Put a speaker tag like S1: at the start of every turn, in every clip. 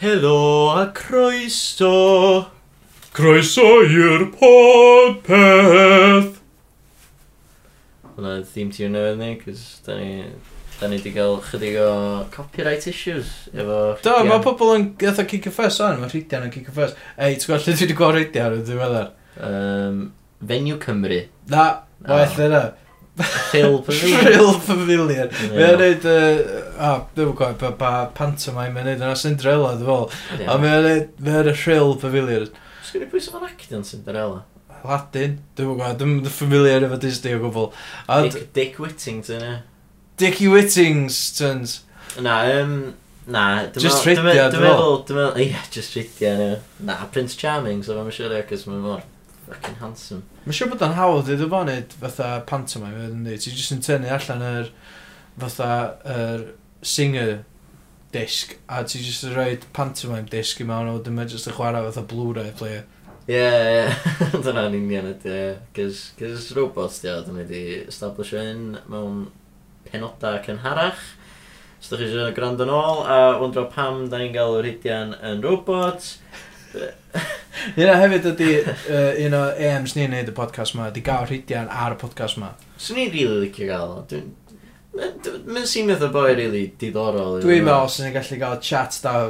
S1: Helo a croeso.
S2: Croeso i'r podpeth!
S1: Hwna ddim ti'n newydd ni, cys da ni... Da ni wedi cael chydig o copyright issues efo...
S2: Do,
S1: rhidian.
S2: mae pobl yn gatha kick a fuss on, mae rhidian yn kick a fuss. Ei, ti'n gweld lle dwi wedi gweld rhidian yn ddiweddar?
S1: Yym, Fenyw Cymru.
S2: Na,
S1: O.
S2: o eth yna.
S1: Phil Pavilion.
S2: Real Pavilion. Mae
S1: Ie.
S2: o'n neud, yy, o, dwi'n gwybod, pa, pa pantomime yn neud yna Cinderella, dwi'n fawr. A mae o'n neud, mae o'n Real Pavilion.
S1: Sgwni pwy sy'n actio'n Cinderella?
S2: Ladin, dwi'n gwybod, dwi'n dwi'n familiar efo Disney o gwbl. A
S1: Dick, Dick Whittington, ie.
S2: Dickie Whittingtons.
S1: Na, yym... Na, dwi'n
S2: Just
S1: meddwl-
S2: rhidian,
S1: dwi'n
S2: dwi'n
S1: meddwl... Dwi'n meddwl... Ie, just rhidian, ie. Na, Prince Charming, so fe'n siŵr, ie, cys mae'n mor... Fucking handsome.
S2: Mae'n siŵr bod o'n hawdd i ddefo wneud fatha pantomime yn dweud. Ti'n jyst yn tynnu allan yr fatha yr singer disc a ti'n jyst yn rhoi pantomime disc i mewn o dyma jyst yn chwarae fatha Blu-ray player.
S1: Ie, ie, dyna'n union ydy, ie. Cys, cys robots, ie, dyn ni wedi establishio un mewn penodau cynharach. Os ydych chi eisiau gwrando yn ôl, a wondro pam da ni'n gael yr hidian yn robot.
S2: Un o hefyd ydy uh, un o AMs ni'n neud y podcast ma, di gael rhidian ar y podcast ma.
S1: Swn i'n rili licio gael o. Dwi'n- Mae'n mae'n sîm eitha boi rili diddorol. iddo
S2: Dwi'n
S1: fo.
S2: meddwl sy'n ni'n gallu cael chat da o.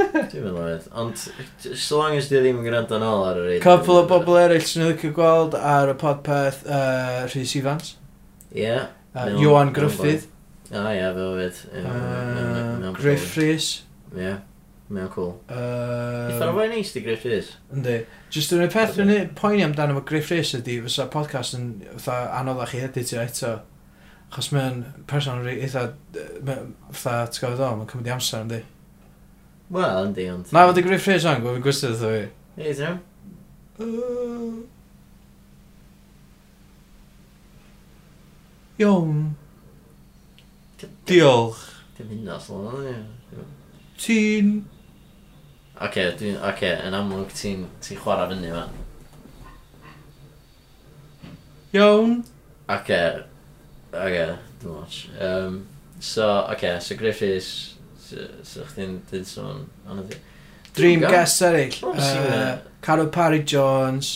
S1: Dwi'n meddwl oedd. Ond, j- so long as di ddim yn gwrando yn ôl ar yr hidian.
S2: Couple o bobl eraill sy'n licio gweld ar y podpeth uh, Rhys Ifans,
S1: Ie.
S2: uh,
S1: Mewn-
S2: Johan
S1: mewn
S2: Gruffydd,
S1: O ie, fe o fyd. Ie, mewn-
S2: uh,
S1: mewn-
S2: Griff Rhys.
S1: Ie, mewn cool. Eitha
S2: Uh,
S1: rhoi neis di Griff Rhys.
S2: Yndi. Just yn y peth yn poeni amdano fo Griff Rhys ydy, fysa podcast yn fatha anoddach i editio eto. Chos mae'n person rhi- eitha, yy, mae- fatha, ti'n gofod o, mae'n cymryd i amser yndi.
S1: Wel, yndi, ond...
S2: Na, fod y Griff Rhys o'n gwybod gwestiwn eitha fi.
S1: Ei, ti'n iawn?
S2: Yy. Iawn, diolch.
S1: Dim hynna, sôn o'n i.
S2: Ti'n...
S1: Oce, dwi'n... Oce, yn amlwg ti'n ti chwarae fyny fan.
S2: iawn.
S1: Oce. Oce, dim watch. Um, so, oce, so Griffiths... So chdi'n dyn sôn... Ond ydi...
S2: Dream guests eraill.
S1: O, sy'n
S2: Yy,
S1: hynna.
S2: Carol Parry Jones,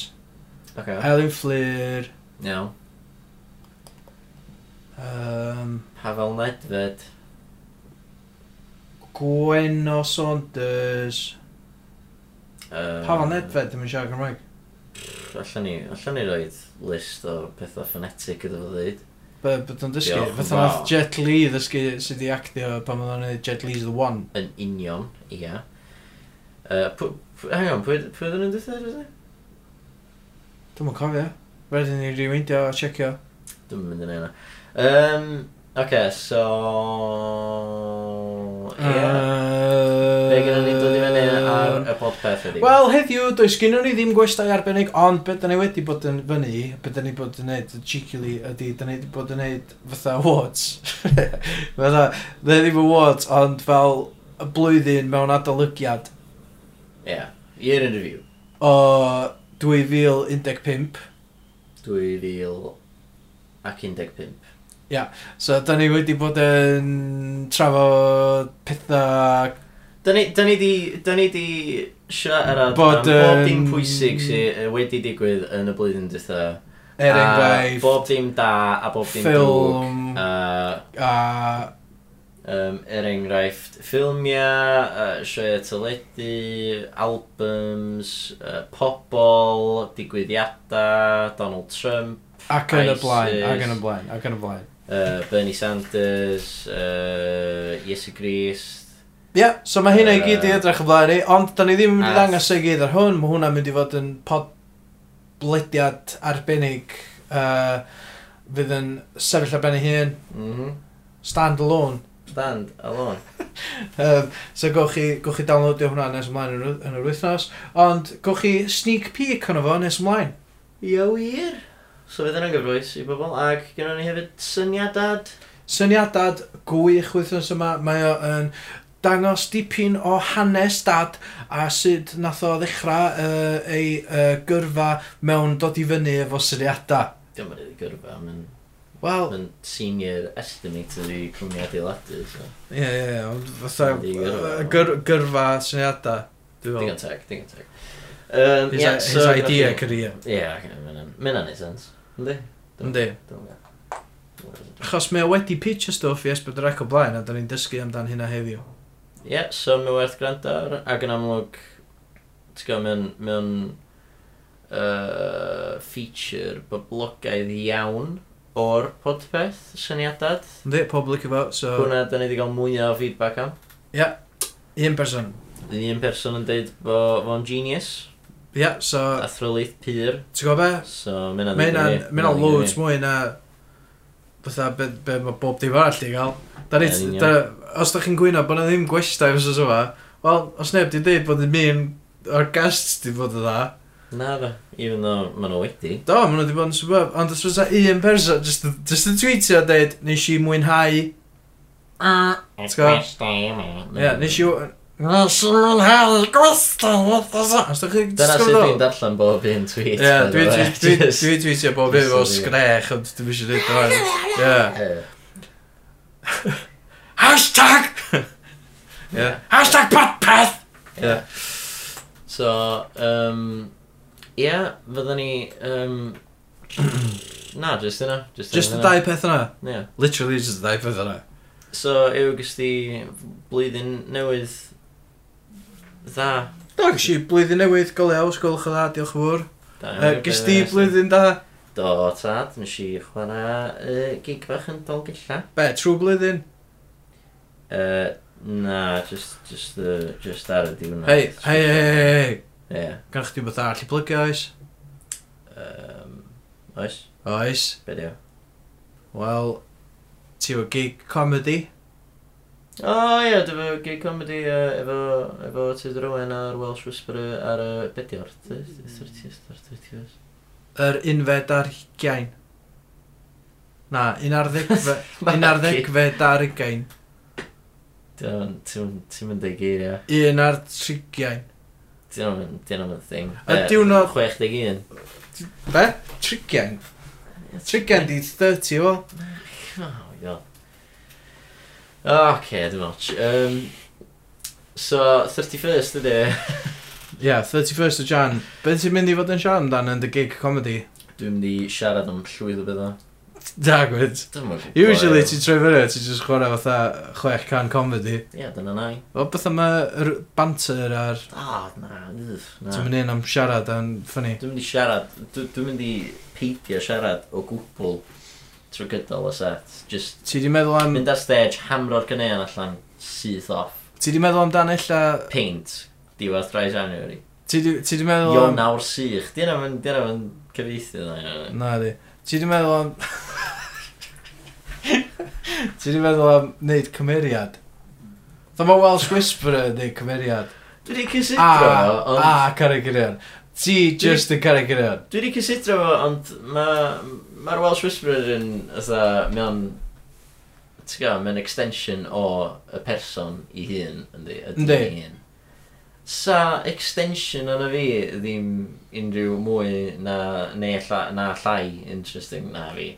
S1: Oce,
S2: Elin Fleur,
S1: iawn.
S2: um,
S1: Pavel Nedved.
S2: Gwen o Saunders. Pa fan edfed, ddim yn siarad Cymraeg.
S1: Allan ni, allan ni roed list o pethau ffonetig ydw fo ddeud.
S2: But, but yn dysgu,
S1: Diolch yn
S2: fath
S1: fawr.
S2: nath Jet Li ddysgu sydd i actio pan oedd o'n neud Jet Li's The One.
S1: Yn union, ia. Uh, pw, pw, hang on, pwy pwy ydyn nhw'n dweud ydy?
S2: Dwi'n mwyn cofio. Wedyn ni rewindio a checio.
S1: Dwi'n mynd yn yna. Um, Oce, so... Ie. Fe gyda ni dod i fyny ar y podpeth ydi.
S2: Wel, heddiw, does gynnu ni ddim gwestai arbennig, ond beth da ni wedi bod yn fyny, beth da ni bod yn neud cheekily ydy, da ni wedi bod yn neud fatha awards. fatha, da ddim awards, ond fel y blwyddyn mewn adolygiad
S1: Ie. Year in review.
S2: o 2015.
S1: 2000 ac 15.
S2: So, da ni wedi bod yn trafod pethau...
S1: Da ni, da ni di, da ni di siarad
S2: Bod,
S1: bod, am bob dim
S2: yym,
S1: pwysig sydd yy, wedi digwydd yn y blwyddyn dytha.
S2: Er enghraifft,
S1: Bob dim da a bob dim drwg.
S2: ffilm
S1: A,
S2: a...
S1: um, er enghraifft, ffilmiau, uh, sioe teledu, albums, uh, pobl, digwyddiadau, Donald Trump,
S2: ac yn y
S1: Isis.
S2: blaen, ac yn y blaen, ac yn y blaen.
S1: uh, Bernie Sanders, uh, Iesu Grist.
S2: Ie, yeah, so mae hynna i gyd i edrych y blaen ni, ond da ni ddim yn mynd i
S1: A-
S2: ddangos ei gyd ar hwn, mae hwnna'n mynd i fod yn podlediad arbennig, uh, fydd yn sefyll ar ben ei hun,
S1: Mm -hmm.
S2: stand alone.
S1: Stand alone.
S2: Um, so gowch chi, gowch chi downloadio hwnna nes ymlaen yn yr- yn yr wythnos, ond gowch chi sneak peek ono fo nes ymlaen.
S1: Ia wir. So fydd yna'n gyfroes i bobl, ac gynnon ni hefyd syniadad.
S2: Syniadad gwych wythnos yma, mae o yn dangos dipyn o hanes dad a sut nath o ddechrau uh, ei uh, gyrfa mewn dod i fyny efo syniadau.
S1: Dwi'n mynd i gyrfa, mae'n
S2: Wel,
S1: Mae'n senior estimator i cwmni adeiladu, so.
S2: Ie, ie, ie, ond fatha
S1: Yndi, gyrfa.
S2: yy, gyr- gyrfa syniadau. Dwi'n meddwl.
S1: Digon teg, digon teg. Um,
S2: His, yeah, his idea career.
S1: Ie, mae'n anodd sens. Yndi?
S2: Yndi.
S1: Dwi'n gwybod.
S2: Achos mae o wedi pitch o stwff i Esbydrec o blaen a da ni'n dysgu amdan hynna heddiw.
S1: Ie, so mae'n werth gwrando ar, ac yn amlwg, ti'n gwybod, mewn, mewn uh, feature boblogaidd iawn o'r podpeth, syniadad.
S2: Ynddi, pobl licio fo, so...
S1: Hwna, da ni wedi cael mwy o feedback am.
S2: Un person.
S1: Un person yn deud bo fo'n genius,
S2: Ia, yeah, so,
S1: a thrylydd pur,
S2: ti'n gwybod be?
S1: so mae'n
S2: Mae hynna'n- mae hynna'n loads mwy na... Fytha, be, be mae bob dim arall i gael. Da ni,
S1: Ie, yn union.
S2: da- os da chi'n gwyno bod na ddim gwestai fysos yma, wel, os neb di dweud bod ddim un o'r guests di bod yn dda,
S1: Na fe, even though maen nhw wedi.
S2: Do, maen nhw wedi bod yn superb, ond os fysa un person, just, just yn tweetio a dweud, nes i mwynhau, ie, Let's go. yeah, nes i... Nes i mwynhau gwestai, what the fuck? Os da chi'n
S1: Dyna sut dwi'n
S2: disgwyl
S1: darllen bob un tweet. by
S2: Ie,
S1: the
S2: dwi'n
S1: way.
S2: twe- dwi'n-
S1: Just-
S2: dwi'n tweetio bob un
S1: Just
S2: o
S1: so fi-
S2: sgrech, ond dwi'n eisiau dweud o'n... Ie.
S1: Yy,
S2: Hashtag! Ie. Hashtag podpeth! Ie.
S1: So, um, ie, yeah, fydden ni... Um, na, just yna. Just,
S2: Just y
S1: yna.
S2: dau peth yna.
S1: Yeah.
S2: Literally, just y dau peth yna.
S1: So, yw gys di blwyddyn newydd dda.
S2: Do, gys i blwyddyn newydd, golau aws, golwch o dda, diolch yn fawr.
S1: Da,
S2: Yy,
S1: iawn,
S2: Gys di blwyddyn da?
S1: Do, tad, nes i chwarae uh, gig bach yn dolgella.
S2: Be, trwy blwyddyn?
S1: Uh, na, just, just, uh, just ar y diwrnod.
S2: Hei, hei, hei, hei, hei.
S1: Ie. Yeah.
S2: Gan chdi beth arall i plygio oes?
S1: Um, oes,
S2: Oes.
S1: be di o?
S2: Wel, ti o gig comedy?
S1: O oh, ie, yeah, dyfo gig comedy uh, efo, efo Tid Rowan a'r Welsh Whisperer ar y uh, bedio'r 30th ar 30th.
S2: Yr unfed ar hugain. Na, un ar ddegfe... un ar ddegfed ar ugain.
S1: Ti'n mynd ei geiriau.
S2: Un ar trigain.
S1: Ti'n mynd thing.
S2: A
S1: Be,
S2: diwrnod-
S1: 61.
S2: Be? Trigain? Trigain di 30 o.
S1: Oh my god. Ok, dim much. Um, so, 31st ydy.
S2: Ie, yeah, 31st o Jan. Beth ti'n mynd i fod yn siarad amdan yn dy gig comedy?
S1: Dwi'n mynd i siarad am llwyth o bethau.
S2: Da, gwyd.
S1: Dwi'm yn gwbod.
S2: Usually ti'n troi fyny, ti'n just chwarae fatha 6 can comedy.
S1: Ie, dyna nai.
S2: O, beth yma banter ar...
S1: Ah, na, yff, na.
S2: Ti'n mynd in am siarad a'n ffynnu.
S1: Dwi'n mynd i siarad, dw- dwi'n mynd i peidio siarad o gwbl trwy gydol y set. Just
S2: Ti di meddwl am...
S1: mynd ar stage, hamro'r gyneuon allan, syth off.
S2: Ti di meddwl amdan illa...
S1: Paint, diwedd 3 January.
S2: Ti di, ti di meddwl am...
S1: Ion awr sych. Di yna fy'n cyfeithi dda. ie, ie.
S2: Na di. Ti di meddwl am... ti di meddwl am wneud cymeriad? Dda mae Welsh Whisperer yn neud cymeriad.
S1: Dwi wedi
S2: A,
S1: cysidro,
S2: a,
S1: ond...
S2: carigrion. Ti just yn carigrion.
S1: Dwi wedi cysidro fo, ond mae'r ma Welsh Whisperer yn, ytha, mewn... Ti'n gael, mae'n extension o y person i hun, yndi, y dyn
S2: Yndi.
S1: i hun. Sa extension yna fi ddim unrhyw mwy na, neu lla, na llai interesting na fi.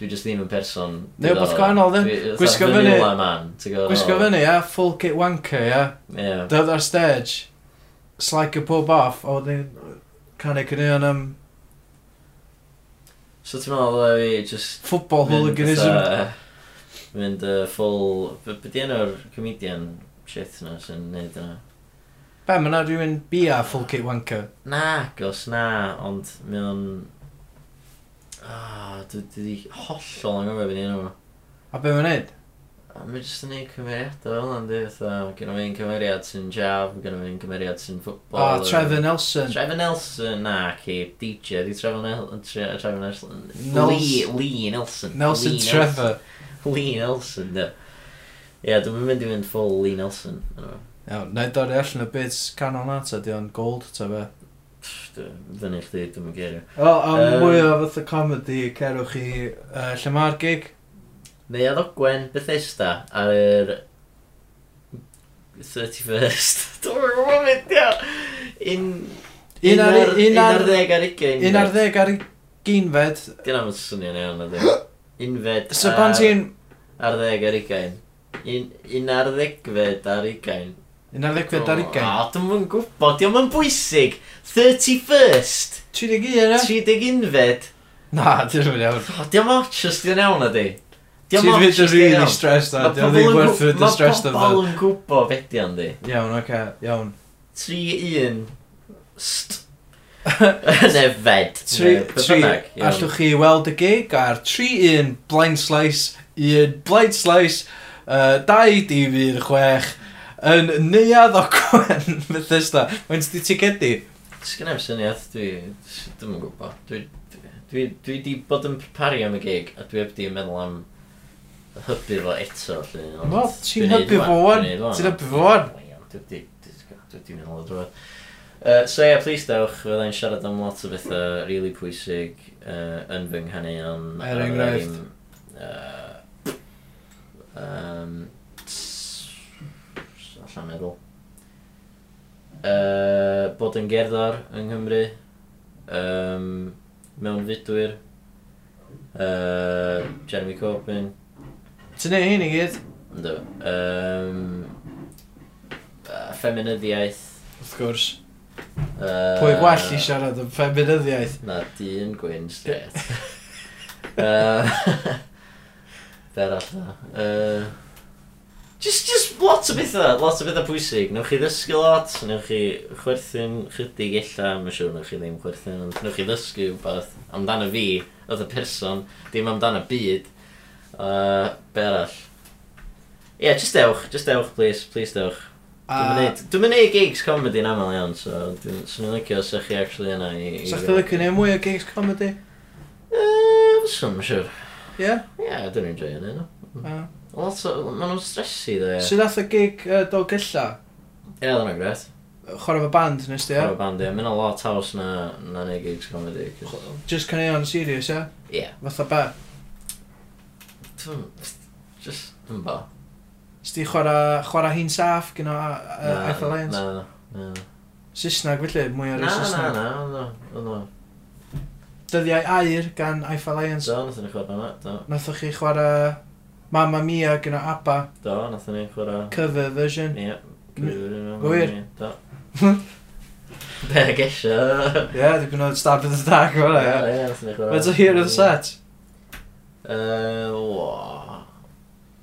S1: Dwi just ddim yn person...
S2: Neu wbath
S1: diddorol.
S2: gwahanol, dde.
S1: Dwi- fatha
S2: Gwisgo fyny-
S1: vanilla man, ti'n gwbod?
S2: Gwisgo fyny, ia? Full kit wanker, ia?
S1: Ie.
S2: Dod ar stage, slag y pob off, o ddyn... Carigrion am...
S1: So ti'n meddwl dda fi just
S2: Football
S1: Mynd,
S2: hooliganism.
S1: fatha, Mynd uh, full... Be be di enw'r comedian shit na sy'n neud yna?
S2: Be, mae yna rhywun bia full kit wanker.
S1: Na, gos na, ond mae o'n... Ah, dwi dwi di hollol yn gofio beth enw.
S2: A be mae'n neud?
S1: A Mae jyst yn neud cymeriadau fel yna, dwi fatha, gyda fi'n cymeriad sy'n jab, gyda fi'n cymeriad sy'n
S2: O,
S1: ffwtbol.
S2: Ah, Trevor Nelson.
S1: Trevor Nelson, na, ci, DJ, di Trevor Nelson, Trevor Nelson,
S2: Nels-
S1: Lee, Lee Nelson.
S2: Nelson
S1: Lee
S2: Trevor.
S1: Lee Nelson, de. Ie, yeah, dwi'n mynd i fynd full Lee Nelson. yno.
S2: Iawn, na i dorri allan y bits canol na, ta di o'n gold, ta be.
S1: Pff, dwi- Fyny chdi, dwi'n mynd gerio.
S2: O, am
S1: Yym.
S2: mwy o fath o comedy, cerwch i uh, Llamar Gig.
S1: Neu ddogwen Bethesda ar yr 31st. Dwi'n gwybod beth ia. Un...
S2: Un ar- un ar-
S1: Un ar ddeg ar ugain.
S2: Un ar ddeg ar ginfed.
S1: Dyna mae'n swnio'n iawn, na dwi'n. unfed
S2: So pan ti'n...
S1: ar ddeg ar ugain. Un, un ar ddegfed ar ugain.
S2: Un ar ddegfed ar ugain.
S1: O, dwi'm yn gwybod, diolch yn bwysig. 31st,
S2: 31 e?
S1: 31 fed.
S2: Na, ti'n mynd iawn.
S1: O, diolch ots os di'n iawn ydi.
S2: Ti'n mynd yn really stressed o. Ti'n mynd werth y distressed
S1: Mae
S2: o.
S1: pobl yn gwybod bedian di.
S2: Iawn, oce, iawn.
S1: 3-1 st. ne fed.
S2: Tri,
S1: ne, beth
S2: tri,
S1: bynnag, iawn.
S2: allwch chi weld y gig ar 3-1 blind slice, 1 blind slice, uh, 2 difyr 6, yn neuad o gwen Bethesda. Mae'n sti tigedi?
S1: Sgynna am syniad, dwi... Dwi'n yn gwybod. Dwi, dwi, dwi di bod yn prepario am y gig, a dwi heb di meddwl am hybu fo eto. felly, ond
S2: Wel, ti'n
S1: dwi'n neud
S2: hybu fo wan,
S1: dwi'n neud wan.
S2: ti'n hybu fo wan.
S1: Wel, Dwi di... Dwi di meddwl o drwy'r... Uh, so ie, yeah, please dewch, fyddai'n siarad am lot o bethau really pwysig uh, yn fy nghanion.
S2: Er
S1: a
S2: enghraifft.
S1: fyddai'n, Uh, um, s- allan meddwl. Uh, bod yn gerddor yng Nghymru. Um, mewn fudwyr. Uh, Jeremy Corbyn.
S2: Ti'n neud hyn i gyd?
S1: Ynddo. Um, uh, feminyddiaeth.
S2: Wrth gwrs.
S1: Uh,
S2: Pwy well i siarad yn ffeminyddiaeth?
S1: Na, dyn gwyn straight. uh, Fer allan. Uh, just, just lots o bethau, lots o bethau pwysig. Newch chi ddysgu lot, newch chi chwerthin chydig illa, mae'n siŵr newch chi ddim chwerthin, ond newch chi ddysgu wbeth amdano fi, oedd y person, dim amdano byd. Uh, be arall? Ie, yeah, just dewch, just dewch, please, please dewch. Dwi'n
S2: A...
S1: mynd, dwi'n mynd i gigs comedy yn aml iawn, so dwi'n swn i'n licio sa'ch chi actually yna i... i-
S2: Sa chdi lycio neud mwy o gigs comedy?
S1: Yy, fyswn, mae'n siŵr.
S2: Ie?
S1: Ie, dwi'n enjoy yn yna.
S2: A-
S1: Lot o, maen nhw'n stresi dde. Mm. Ie,
S2: Sut ath y gig yy, Dolgella?
S1: oedd yna gret.
S2: Chwarae fy band nes di,
S1: Ie.
S2: ie?
S1: band, ie. Mae'n a lot haws na, na neu gigs comedy. 'cos-
S2: Just caneuon serious, ie?
S1: Ie.
S2: Fatha be?
S1: Dwi'n, just, dwi'n bo.
S2: Sti chwarae chwara hi'n saff gyno
S1: Na,
S2: Eiffel Lions?
S1: Na, na, na.
S2: Saesneg felly, mwy
S1: Na,
S2: ar y
S1: na,
S2: Saesneg.
S1: na, na, na, na.
S2: Dyddiau air gan Eiffel Lions.
S1: Do, nath ni chwarae yna, do.
S2: Nathoch chi chwarae Mamma Mia gyno ABBA,
S1: Do, nath ni chwarae...
S2: cover version.
S1: Ie.
S2: Gywir?
S1: Do. Be a gesio.
S2: Ie, yeah, dwi'n gwneud Stab in the Dark o'r e.
S1: Ie,
S2: ie.
S1: ie, nath ni chwarae.
S2: Mae'n to hear the set.
S1: Yy, wa.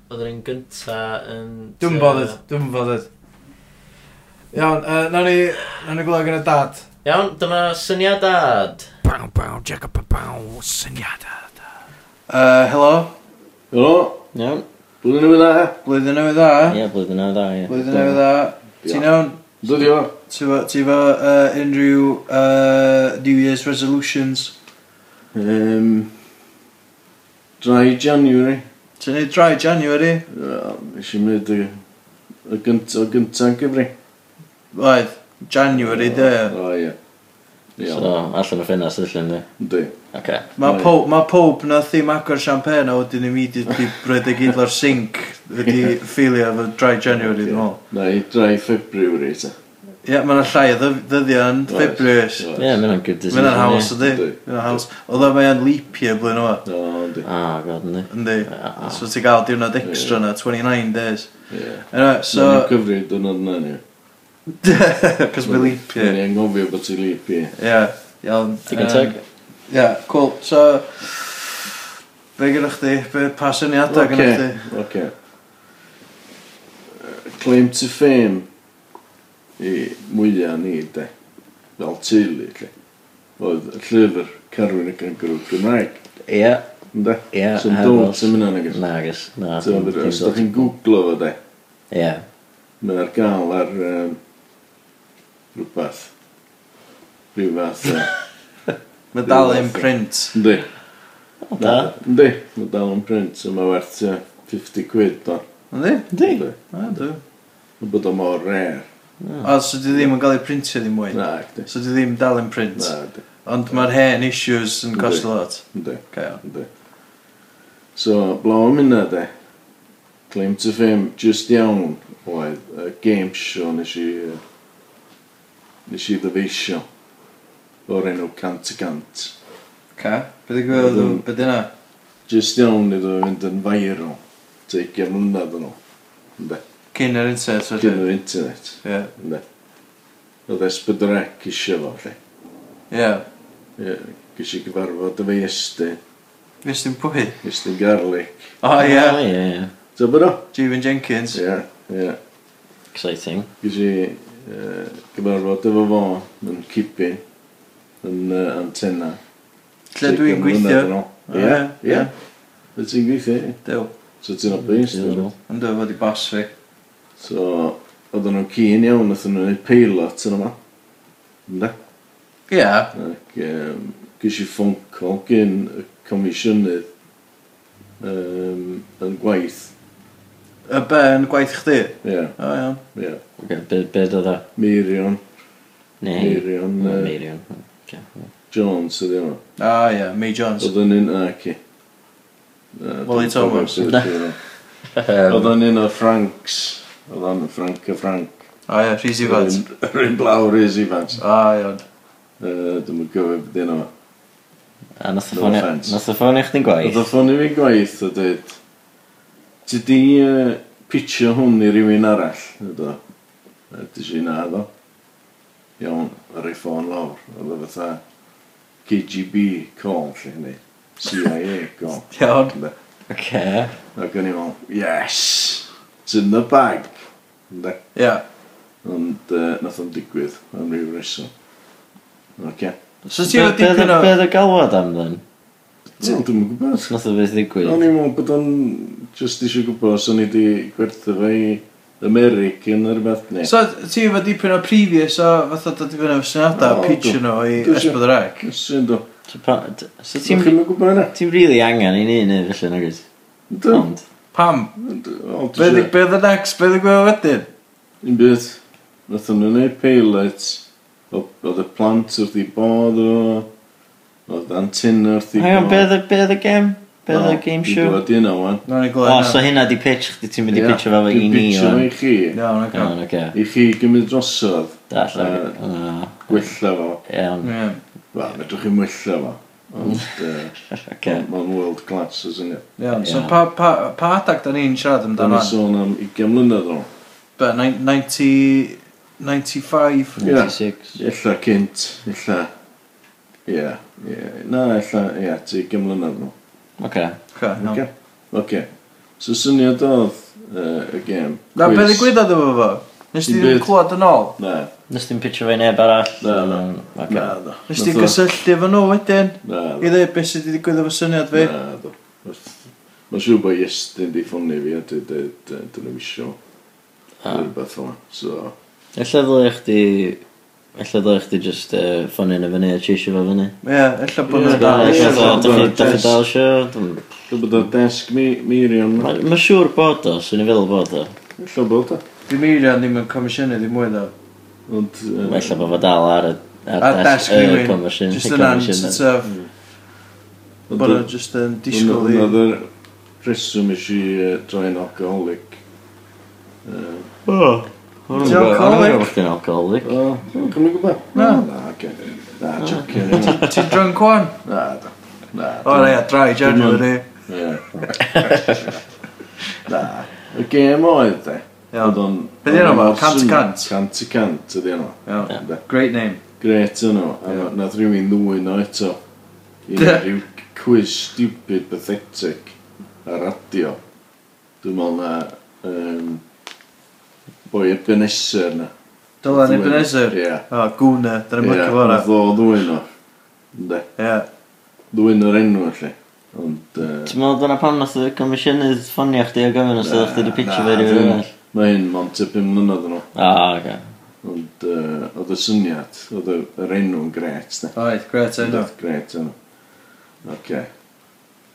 S1: Oedd yr un gynta yn...
S2: Dwi'n bothered, dwi'n bothered. Iawn, uh, nawn ni, nawn ni gwlad gyda dad.
S1: Iawn, dyma syniadad.
S3: Bow, bow, jacka, bow, bow, syniada.
S2: Uh, helo,
S4: Helo,
S1: Iawn.
S4: blwyddyn newydd dda.
S2: blwyddyn newydd dda.
S1: Ie, blwyddyn newydd dda, ie.
S2: Blwyddyn newydd dda. Ti'n iawn?
S4: Dwi'n dio.
S2: Ti fo, ti fo uh, unrhyw uh, New Year's resolutions?
S4: Um, dry January.
S2: Ti'n neud dry January?
S4: Ys i'n mynd y, y gynt, o gynta'n gyfri.
S2: Oedd, January, dy.
S4: O, ie.
S1: So,
S4: Iawn,
S1: allan o ffenast allan ni.
S4: Yndi.
S1: Oce.
S2: Mae
S4: Mae-
S2: pob, ma pob na ddim agor champagne a wedyn immediately roed y gyd o'r sink wedi ffeilio efo dry January dwi'n ôl.
S4: Na i dry February ta.
S2: Ie, mae yna llai o ddyf- ddyddion
S4: Oes,
S2: February.
S4: oes.
S1: Ie, mae'n hwnna'n good
S2: Mae yna'n haws ydy?
S4: Yndi.
S2: Mae yna'n haws. Oedd o mae o'n leap year blwyddyn yma.
S4: O, yndi.
S1: O, god, ynddi.
S2: Yndi.
S1: Ah.
S2: So ti'n gael diwrnod extra na, 29 days.
S4: Ie.
S2: Anyway,
S4: So...
S2: so...
S4: Mae'n gyfri dwrnod na ni.
S2: Cos mae leap year.
S4: Ie, ngofio bod ti'n leap, ie.
S2: Ie, iawn.
S1: Digon
S2: Yym,
S1: teg.
S2: Ie, cool. So... Be gyda chdi? Be pa syniadau gyda chdi?
S4: Oce. Yy, Claim to fame i mwyaf ni, de. Fel teulu, lle. Oedd y llyfr Carwyn y Gangrw Gymraeg.
S1: Ie,
S4: Ynde?
S1: ie.
S4: So
S1: heb
S4: don't
S1: os-
S4: sy'n mynd anag.
S1: Na, agos. Na.
S4: So,
S1: dim- dim
S4: os da
S1: dod.
S4: chi'n googlo fo, de.
S1: Ie.
S4: Mae'n ar gael ar um, rhywbeth. Rhyw fath. yy,
S2: Mae dal yn print.
S4: Yndi.
S1: Da.
S4: Yndi. Mae dal yn print, so mae werth yy, 50 quid, do.
S2: Yndi?
S4: Yndi.
S2: A, dwi.
S4: Mae bod o mor rare.
S2: O, so di ddim yn cael ei printio ddim mwy?
S4: Na, ydi.
S2: So di ddim dal yn print?
S4: Na, ydi.
S2: Ond mae'r hen issues yn
S4: Yndi.
S2: cost a lot.
S4: Yndi.
S2: Okay, iawn.
S4: Yndi. So, blaw am hynna de. Claim to fame, just iawn, oedd y game show nes i, yy, nes i ddyfeisio o'r enw cant y cant.
S2: Ca? Be di gwybod
S4: Ydyn.
S2: beth yna?
S4: Jyst iawn iddo fe fynd yn viral. Teigia mlynedd yn ôl. Ynde.
S2: Cyn yr internet
S4: Cyn
S2: wedyn.
S4: yr internet.
S2: Ie.
S4: Ynde. Oedd Esbydrec isio fo, lle.
S2: Ie.
S4: Ie, Gysi gyfarfod y fe ystyn.
S2: Fes dim pwy?
S4: Ystyn garlic.
S2: O
S5: O,
S2: ie.
S5: Oh, ie, ie.
S4: So bod o?
S2: Stephen Jenkins.
S4: Ie, ie.
S5: Exciting.
S4: Gysi yy, gyfarfod efo fo yn cipin. Yn yy, antenna.
S2: Lle dwi'n
S4: Ugain mlynedd yn
S2: gweithio.
S4: ôl. Ie,
S2: Ah,
S4: ie. Lle ti'n gweithio? ie.
S2: Dyw.
S4: So ti'n obys?
S2: Yn dwi fod i bos fi.
S4: So, oedden nhw'n cyn iawn, oedden nhw'n gwneud pilot yn yma. Ynda?
S2: Ie.
S4: Ac um, gysi ffôn call gyn y comisiynydd um, yn gwaith.
S2: Y be yn gwaith chdi?
S4: Ie, yeah,
S2: O iawn.
S4: ie. Yeah.
S5: Okay, be, be dod o?
S4: Meirion,
S5: Neu...
S4: Meirion
S5: Mm,
S4: uh,
S5: Meirion. Ocê.
S4: Jones ydi yma.
S2: O ie. May Jones.
S4: Oedden nhw'n ac i.
S2: Wally Thomas.
S4: Oedden nhw'n o Franks. Oedden nhw'n Frank y Frank.
S2: O ie. Rhys Ifans.
S4: Yr un blawr is Ifans.
S2: O iawn.
S4: Dwi'n gwybod beth yna.
S5: A nath o
S4: No
S5: ffonio...
S4: offence.
S5: Nath o ffonio chdi'n
S4: Oedd o
S5: gwaith?
S4: ffonio fi gwaith o dweud Ti di uh, pitio hwn i rywun arall Oedd o A Ti si na ddo Iawn, ar ei ffôn lawr Oedd o fatha KGB call lle hynny CIA call
S2: Iawn.
S4: Ynde?
S5: Oce.
S4: Ac o'n i'n meddwl, yes It's in the bag Ynde?
S2: Ie.
S4: Ond uh, nath o'n digwydd am ryw reswm Oce
S2: So ti fod dipyn o...
S5: Be dod o galwad am then?
S4: Wel, Dwi'm yn gwybod
S5: Nath o beth ddigwydd?
S4: O'n i'n meddwl bod o'n just eisiau gwybod os o'n i wedi gwerthu fe i Americ yn yr beth ni.
S2: So ti fod dipyn o previous o fatha dod i fyny o syniadau
S4: O,
S2: pitch nhw i
S4: dwi isio-
S2: Esbydd Rec.
S4: Sy'n do.
S5: So pa- d- So
S4: Ti'n
S5: ti'n...
S4: chi'n gwybod yna?
S5: Ti'n rili angen i ni neu felly nag oes?
S4: Do.
S5: Ond.
S2: Pam?
S4: O,
S2: Be
S4: dwi
S2: oedd be oedd y next? Be oedd y gwybod wedyn?
S4: Un byd, nath nhw'n gwneud pilot, o- oedd y plant wrth i bod o, oedd antenna wrth i bod.
S5: Hang on, be oedd y- be oedd y game? Be oedd y game
S4: Dwi'n
S5: show?
S4: gwybod yna, wan.
S2: Nawn ni
S5: O, so
S2: glwyd.
S5: hynna di pitch chdi ti'n mynd i
S4: Ie,
S5: pitcho fe i
S4: dwi'n
S5: ni
S4: pitcho
S5: o'n...
S4: fe i chi.
S2: Iawn, ac
S5: Iawn, oce.
S4: I chi gymryd drosodd,
S5: Dall,
S4: Yy,
S5: oce.
S4: gwella fo.
S5: Iawn,
S2: Ie.
S4: Wel, medrwch chi'n wella fo. Ond, yy,
S5: oce.
S4: mae'n world class, os yna.
S2: Iawn, so
S5: Ie.
S2: pa, pa, pa adag da ni'n siarad
S4: Da
S2: amdano?
S4: ni sôn am 20 mlynedd o'n.
S2: Be, nine- 90... 95?
S4: Ie.
S5: 96.
S4: Ella cynt, ella... Ie, ie. Na, ella, ie, ti 20 mlynedd o'n.
S5: Oce.
S2: Ca, iawn.
S4: Oce? Oce. So syniad oedd yy, y gêm.
S2: Na,
S4: quiz.
S2: be ddigwyddodd efo fo? Nes ti
S4: Dim
S2: ddim
S4: byd.
S2: clywed yn ôl?
S4: Na,
S5: Nes ti'n pitcho fe i neb arall?
S4: Na, na.
S5: Oce.
S4: na, do.
S2: Nes ti
S4: Nath o-
S2: gysylltu efo nhw wedyn?
S4: Na,
S2: I
S4: do.
S2: ddeud beth sydd wedi digwydd efo syniad fi?
S4: Na, do. Wrth- Mae'n siŵr bod Iestyn di ffonni fi a dwi dweud dyn nhw'n misio
S5: Ah.
S4: rhywbeth o'n. So,
S5: Ella ddylai chdi... Ella ddylai chdi just uh, ffonio na fyny a cheisio fo fyny.
S2: Ie, ella bod
S4: Ie,
S2: nhw'n
S4: da,
S2: dal.
S4: ie,
S2: Ella
S4: da.
S2: bod-
S5: Dach chi dal sio?
S4: dwi'n bod o desg mi, Miriam.
S5: Mae siŵr bod o, swn i'n feddwl bod o.
S4: Ella bod o.
S2: Di Miriam ddim yn comisiynu ddim mwy ddo.
S4: Ond, yy,
S5: Ella bod fo dal ar e, y...
S2: Ar desk
S5: y
S2: rhywun.
S5: commission-
S2: Just
S5: y
S2: yn an,
S5: commission.
S2: sort of,
S4: ond
S2: bod
S4: dwi-
S2: nhw just yn disgwyl i...
S4: Hwnna oedd y rheswm eisiau uh, droi'n alcoholic. Uh,
S5: Hwn yn
S2: Ti'n alcoholic?
S5: gwybod chdi'n alcoholic.
S4: o, dwi'n gwybod. Na, na, oce. Na, jocio. Na,
S2: Ti'n drunk wan?
S4: na, da. na.
S2: O, na, ia, dry January.
S4: dwi'n- ie. Na, y gêm oedd e. de.
S2: Iawn.
S4: Oedd o'n-
S2: Be 'di enw fo?
S4: oedd o'n
S2: Cant
S4: swnio-
S2: cant?
S4: Cant y cant ydi yno.
S2: Iawn.
S4: De.
S2: Great name.
S4: Gret yno. A
S2: Ie.
S4: na- nath rhywun ddwyn o eto. I neud ryw quiz stupid pathetic ar radio. Dwi'n meddwl na... Um, boi Ebenezer na.
S2: Dylan Ebenezer.
S4: Ie.
S2: O, Gwna, dyna mwyn
S4: Ie,
S2: cyfo hwnna.
S4: nath o ddwyn o. Ynde.
S2: Ie.
S4: Ddwyn o'r enw allu. Ond... yy,
S5: Ti'n meddwl dyna pam nath y comisiynydd ffonio chdi o gofyn os ydych chdi wedi pitcho
S4: na,
S5: fe i
S4: dwi'n-
S5: rywun arall?
S4: Mae hyn mont y pum mlynedd yno.
S5: O, oce.
S4: Ond uh, oedd y syniad, oedd y- yr enw'n gret. Ne?
S2: Oed, gret enw.
S4: Oedd gret yno. Oce.
S5: Oce,